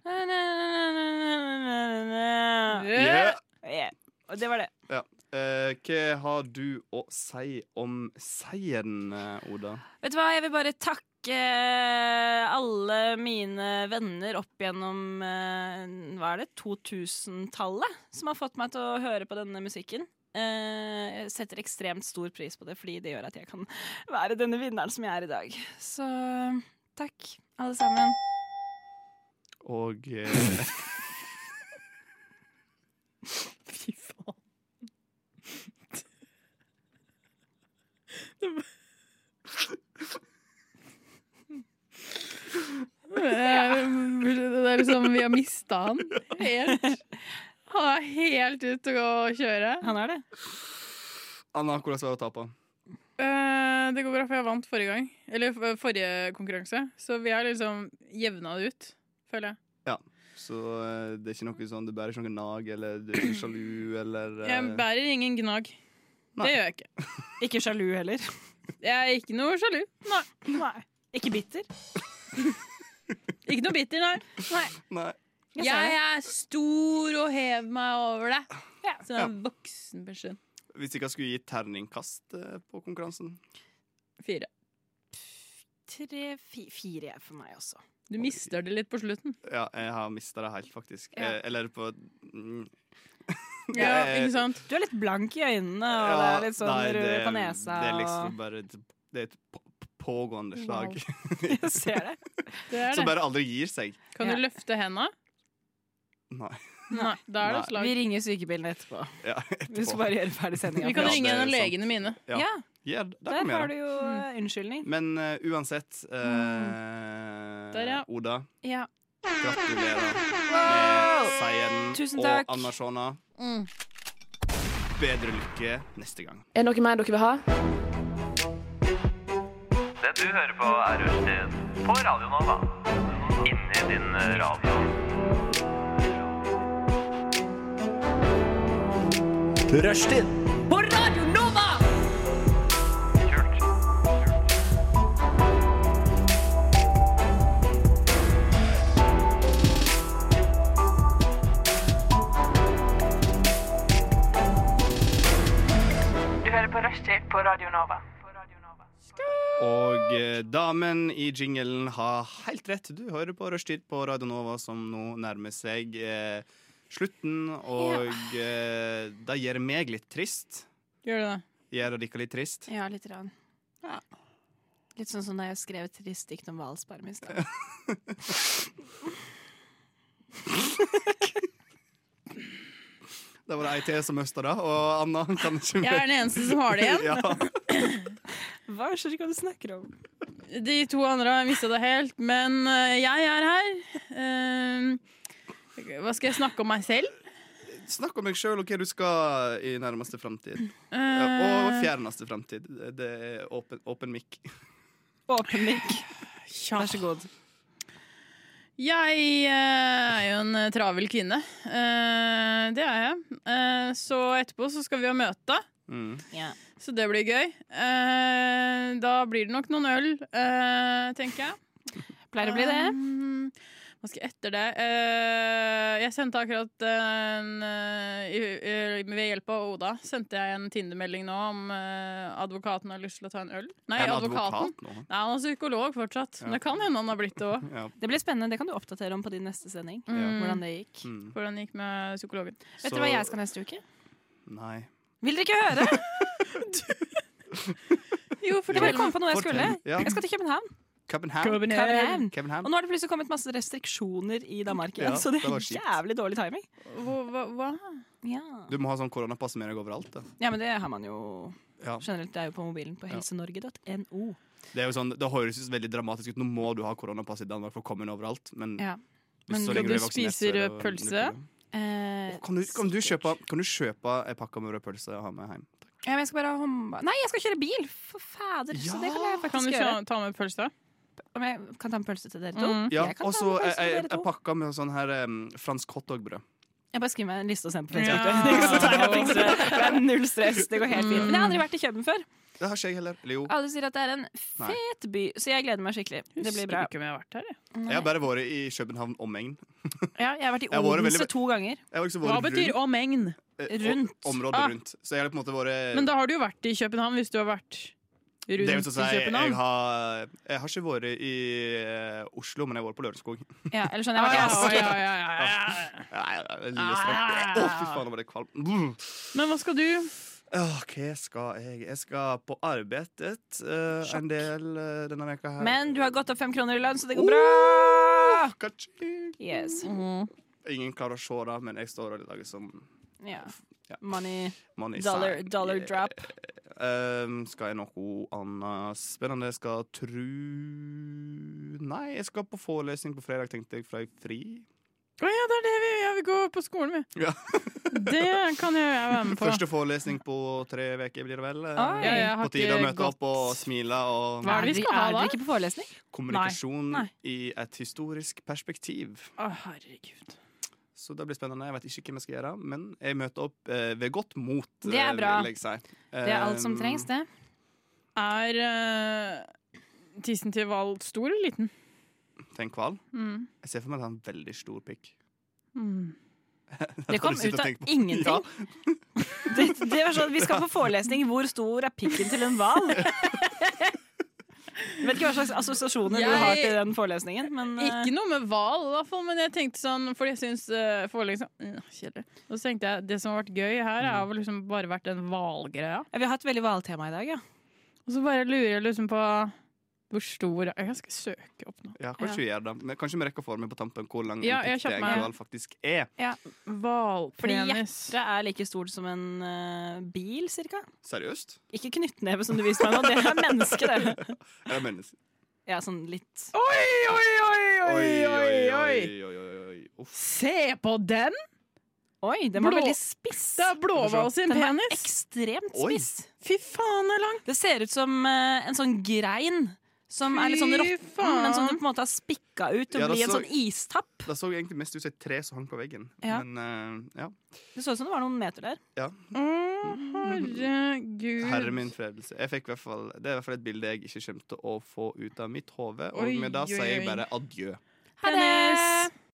Speaker 6: Na, na, na, na, na, na, na, na.
Speaker 4: Yeah.
Speaker 6: Yeah. Og det var det.
Speaker 4: Ja. Eh, Eh, hva har du å si om seieren, eh, Oda?
Speaker 6: Vet du hva, jeg vil bare takke eh, alle mine venner opp gjennom eh, hva er det, 2000-tallet, som har fått meg til å høre på denne musikken. Eh, jeg setter ekstremt stor pris på det, fordi det gjør at jeg kan være denne vinneren som jeg er i dag. Så takk, alle sammen.
Speaker 4: Og eh,
Speaker 5: Fy faen. Det var- Det er- det er liksom Vi har mista han helt. Han er helt ute å kjøre.
Speaker 6: Han er det.
Speaker 4: Anna, hvordan var det å tape?
Speaker 5: Eh, det går bra, for jeg vant forrige gang. Eller for- forrige konkurranse. Så vi har liksom jevna det ut, føler jeg.
Speaker 4: Ja. Så eh, det er ikke noe sånn du bærer ikke noe nag, eller du er ikke sjalu, eller eh,
Speaker 5: Jeg bærer ingen gnag. Det gjør jeg ikke.
Speaker 6: Ikke sjalu heller? [LAUGHS]
Speaker 5: Jeg er ikke noe sjalu. Nei.
Speaker 6: Ikke bitter?
Speaker 5: ikke noe bitter, nei. nei.
Speaker 4: Nei.
Speaker 5: Jeg, er stor og hever meg over det. Som en voksen person.
Speaker 4: Hvis ikke jeg skulle gi terningkast eh, på konkurransen?
Speaker 5: Fire.
Speaker 6: Tre, fi, fire er for meg også.
Speaker 5: Du mister det litt på slutten.
Speaker 4: Ja, jeg har mista det helt, faktisk.
Speaker 6: Ja.
Speaker 4: Eh, eller på mm.
Speaker 6: Ja,
Speaker 4: Det er-
Speaker 6: ikke sant? Du er litt blank i øynene, og det
Speaker 4: Ja,
Speaker 6: er litt sånn
Speaker 4: nei,
Speaker 6: rød
Speaker 4: det-
Speaker 6: på nesa.
Speaker 4: Det er
Speaker 6: og-
Speaker 4: liksom bare et, det er et på- pågående slag.
Speaker 6: [LAUGHS] Jeg ser det.
Speaker 5: Det er
Speaker 4: [LAUGHS] Som
Speaker 5: det.
Speaker 4: bare aldri gir seg.
Speaker 5: Kan du løfte henda?
Speaker 4: Nei.
Speaker 5: Nei. Da er det
Speaker 4: Nei.
Speaker 5: slag.
Speaker 6: Vi ringer sykebilen etterpå.
Speaker 4: Ja, [LAUGHS] etterpå.
Speaker 6: Vi skal bare gjøre ferdig sendinga.
Speaker 5: Vi kan
Speaker 4: Ja,
Speaker 5: ringe
Speaker 4: det er
Speaker 5: en av
Speaker 4: sant.
Speaker 5: legene mine.
Speaker 4: Ja.
Speaker 6: Ja,
Speaker 4: Ja, det kan
Speaker 6: der
Speaker 4: vi gjøre.
Speaker 6: har du jo eh, unnskyldning.
Speaker 4: Men eh, uansett eh,
Speaker 6: Der, ja.
Speaker 4: Oda,
Speaker 5: Ja.
Speaker 4: gratulerer med
Speaker 6: Wow!
Speaker 4: seieren.
Speaker 11: Tusen takk.
Speaker 4: Og Anna Shona, bedre lykke neste gang.
Speaker 11: Er det noe mer dere vil ha?
Speaker 17: Det du hører på er Rushtid på Radio Nova. Inni din radio.
Speaker 1: Rushtid.
Speaker 15: På Radio Nova!
Speaker 18: Du hører på Rushtid på Radio Nova.
Speaker 4: Og eh, damen i jinglen har helt rett. Du hører på Rushtid på Radio Nova, som nå nærmer seg eh, slutten. Og eh, det gjør meg litt trist.
Speaker 5: Gjør du det?
Speaker 4: Gjør dere litt trist?
Speaker 6: Ja, litt. Rann. Litt sånn som da jeg skrev et trist dikt om hvalsperm i stad.
Speaker 4: Da var det ei til som mista det, og Anna kan ikke
Speaker 5: [LAUGHS] Jeg er den eneste som har det
Speaker 4: [LAUGHS]
Speaker 5: igjen.
Speaker 4: ja.
Speaker 6: Hva er det du snakker om?
Speaker 5: De to andre har mista det helt, men eh, jeg er her. Eh, hva skal jeg snakke om meg selv?
Speaker 4: Snakk om deg sjøl og hva du skal i nærmeste framtid.
Speaker 5: Eh.
Speaker 4: Og fjerneste framtid. Det er åpen, åpen mic.
Speaker 6: Åpen mic. Vær så god.
Speaker 5: Jeg eh, er jo en eh, travel kvinne. Eh, det er jeg. Eh, så etterpå så skal vi ha møte.
Speaker 4: Mm.
Speaker 5: Så det blir gøy. Eh, da blir det nok noen øl, eh, tenker jeg.
Speaker 6: Pleier å bli det.
Speaker 5: Um, hva skal jeg etter det? Eh, jeg sendte akkurat en eh, i- i- Ved hjelp av Oda sendte jeg en Tinder-melding nå om eh, advokaten har lyst til å ta en øl. Nei,
Speaker 4: Er han
Speaker 5: advokaten.
Speaker 4: advokat nå?
Speaker 5: Nei, han er psykolog fortsatt.
Speaker 4: Ja.
Speaker 5: Men det kan hende han har blitt det òg.
Speaker 4: Ja.
Speaker 6: Det blir spennende. Det kan du oppdatere om på din neste sending. Hvordan det gikk.
Speaker 4: Mm.
Speaker 5: Hvordan det gikk med psykologen.
Speaker 6: Vet dere hva jeg skal neste uke?
Speaker 4: Nei.
Speaker 6: Vil dere ikke [LAUGHS] høre?
Speaker 5: jo,
Speaker 6: Jeg bare kom på noe jeg skulle.
Speaker 4: Fortell, ja.
Speaker 6: Jeg skal til København.
Speaker 4: København.
Speaker 6: København.
Speaker 4: København.
Speaker 6: Og nå har det plutselig kommet masse restriksjoner i Danmark igjen,
Speaker 4: Ja,
Speaker 6: så det
Speaker 4: det var
Speaker 6: er
Speaker 4: kjipt.
Speaker 6: jævlig dårlig timing.
Speaker 5: Hva?
Speaker 6: Ja.
Speaker 4: Du må ha sånn koronapass med deg overalt. Da.
Speaker 6: ja, men det har man jo
Speaker 4: Ja.
Speaker 6: generelt. Det er jo på mobilen på
Speaker 4: Ja.
Speaker 6: helsenorge.no.
Speaker 4: Det, er jo sånn, det høres ut veldig dramatisk ut. Nå må du ha koronapass i Danmark for å komme inn overalt. Men,
Speaker 6: Ja.
Speaker 4: hvis- så lenge
Speaker 5: du
Speaker 4: er vaksinert, så er
Speaker 5: spiser
Speaker 4: det
Speaker 6: eh,
Speaker 4: jo
Speaker 5: rød pølse?
Speaker 4: null problem. Kan du, kan, du kjøpe, kan du kjøpe en pakke med rød pølse og ha med hjem?
Speaker 6: Ja, men jeg skal bare ha håndba... Nei, jeg skal kjøre bil! For fader, så det kan jeg faktisk
Speaker 5: Kan du
Speaker 6: gjøre.
Speaker 5: ta- ta med pølse?
Speaker 6: Om jeg kan ta en pølse til dere to?
Speaker 5: Mm.
Speaker 4: Ja,
Speaker 6: Jeg kan
Speaker 4: og
Speaker 6: ta
Speaker 4: så
Speaker 6: en pølse til
Speaker 4: en
Speaker 6: dere to.
Speaker 4: pakke med sånn her em, fransk hotdogbrød.
Speaker 6: Jeg bare skriver meg en liste og sender på
Speaker 4: Ja.
Speaker 6: Facebook. Så
Speaker 5: [LAUGHS]
Speaker 6: tar jeg en pølse. Det er null stress. Det går helt
Speaker 5: Mm.
Speaker 6: fint. Men jeg har aldri vært i København før.
Speaker 4: Det har ikke jeg heller. Eller jo.
Speaker 6: Alle sier at det er en
Speaker 4: Nei.
Speaker 6: fet by, så jeg gleder meg skikkelig. Det blir bra.
Speaker 5: Husker ikke om jeg har vært her, jeg.
Speaker 4: Jeg har bare vært i København omegn.
Speaker 6: Ja, jeg har vært i
Speaker 4: Jeg har vært
Speaker 6: Odense
Speaker 4: veldig-
Speaker 6: to ganger.
Speaker 4: Jeg har også vært
Speaker 5: Hva betyr
Speaker 4: rundt.
Speaker 5: omegn?
Speaker 4: eh,
Speaker 5: Rundt.
Speaker 4: o- Området
Speaker 5: Ah.
Speaker 4: rundt. Så jeg har på en måte vært eh,
Speaker 5: Men da har du jo vært i København, hvis du har vært rundt
Speaker 4: Det vil si,
Speaker 5: i
Speaker 4: jeg, jeg,
Speaker 5: København.
Speaker 4: har, jeg har ikke vært i eh, Oslo, men jeg har vært på Lørenskog.
Speaker 5: Ja, eller sånn, jeg har vært i Asker. Ja, ja, ja, ja, ja.
Speaker 4: Nei, det er lille
Speaker 5: Ah.
Speaker 4: strøk. Å, fy faen, nå ble jeg kvalm.
Speaker 5: Men hva skal du?
Speaker 4: Åh, hva skal jeg? Jeg skal på arbeidet eh, en del eh, denne veka her.
Speaker 6: Men du har gått opp fem kroner i lønn, så det går bra!
Speaker 5: Oh.
Speaker 6: Yes.
Speaker 5: Mm-hmm.
Speaker 4: Ingen klarer å se det, men jeg står og lager sånn
Speaker 6: Ja. Money,
Speaker 4: Money
Speaker 6: dollar,
Speaker 4: sign.
Speaker 6: dollar
Speaker 4: Yeah.
Speaker 6: drop.
Speaker 4: Ehm, skal jeg noe annet spennende? Jeg skal tru Nei, jeg skal på forelesning på fredag, tenkte jeg, for jeg er fri.
Speaker 5: Å ja, det er det vi Ja, vi går på skolen, vi.
Speaker 4: Ja.
Speaker 5: [LAUGHS] Det kan jo jeg være med på.
Speaker 4: Første forelesning på tre uker blir det vel?
Speaker 5: Oi. Ja, jeg har
Speaker 4: på tide å
Speaker 5: ikke
Speaker 4: møte opp og smile og
Speaker 5: Hva er det vi skal ha da?
Speaker 6: på forelesning?
Speaker 4: Kommunikasjon
Speaker 5: Nei.
Speaker 4: i et historisk perspektiv.
Speaker 5: Å, herregud.
Speaker 4: Så det blir spennende. Jeg vet ikke hvem jeg skal gjøre, men jeg møter opp eh, ved godt mot.
Speaker 6: Det er
Speaker 4: eh,
Speaker 6: bra.
Speaker 4: vil jeg si.
Speaker 6: Det er alt som
Speaker 4: Ehm,
Speaker 6: trengs, det.
Speaker 5: Er eh, tissen til Val stor eller liten?
Speaker 4: Tenk hval.
Speaker 5: Mm.
Speaker 4: Jeg ser for meg at han har en veldig stor pikk.
Speaker 5: Mm.
Speaker 4: Det har
Speaker 6: kom
Speaker 4: du sittet
Speaker 6: ut av
Speaker 4: og tenkt på.
Speaker 6: ingenting.
Speaker 4: Ja.
Speaker 6: Det, det var sånn, Vi skal på forelesning. Hvor stor er pikken til en hval?
Speaker 5: [LAUGHS]
Speaker 6: Vet ikke hva slags assosiasjoner du har til den forelesningen, men eh,
Speaker 5: Ikke noe med hval, i hvert fall, men jeg tenkte sånn Fordi jeg syns uh, forelesning mm, Kjedelig. Og så tenkte jeg det som har vært gøy her, er vel liksom bare vært den hvalgreia.
Speaker 6: eh, Vi har hatt veldig hvaltema i dag, ja.
Speaker 5: Og så bare lurer jeg liksom på hvor stor Jeg skal søke opp nå.
Speaker 4: Ja, kanskje vi gjør det. Men kanskje vi rekker å få med på tampen hvor lang
Speaker 5: Ja,
Speaker 4: en
Speaker 5: jeg
Speaker 4: pikk
Speaker 5: kjøper
Speaker 4: det
Speaker 5: meg.
Speaker 4: egentlig vel faktisk er.
Speaker 6: Fordi
Speaker 5: Hvalpenis.
Speaker 6: hjertet er like stort som en eh, bil, cirka.
Speaker 4: Seriøst?
Speaker 6: Ikke knyttneve, som du viste meg nå. Det er menneske,
Speaker 5: [LAUGHS]
Speaker 6: det.
Speaker 4: Er det menneske?
Speaker 6: Ja, sånn litt
Speaker 5: Oi, oi, oi, oi, oi, oi!
Speaker 4: oi, oi, oi. Uff.
Speaker 5: Se på den!
Speaker 6: Oi, den var
Speaker 5: Blå-
Speaker 6: veldig spiss.
Speaker 5: Det er blåhval sin
Speaker 6: Den var
Speaker 5: penis.
Speaker 6: ekstremt
Speaker 5: Oi.
Speaker 6: spiss.
Speaker 5: Fy faen, er lang.
Speaker 6: Det ser ut som eh, en sånn grein. Som er litt sånn
Speaker 5: Fy
Speaker 6: råtten,
Speaker 5: faen.
Speaker 6: men som du på en måte har spikka ut til
Speaker 4: Ja,
Speaker 6: å
Speaker 4: det
Speaker 6: bli en
Speaker 4: så-
Speaker 6: sånn istapp.
Speaker 4: Det så egentlig mest ut som et tre som hang på veggen.
Speaker 6: Ja.
Speaker 4: Men eh,
Speaker 6: Det så ut som det var noen meter der.
Speaker 4: ja. ja.
Speaker 5: Å, herregud.
Speaker 4: Herre min fredelse. Jeg fikk i hvert fall, det er i hvert fall et bilde jeg ikke kommer til å få ut av mitt hode. Og
Speaker 5: Oi,
Speaker 4: med det
Speaker 5: oi,
Speaker 4: sier jeg
Speaker 5: oi.
Speaker 4: bare adjø.
Speaker 5: Ha det!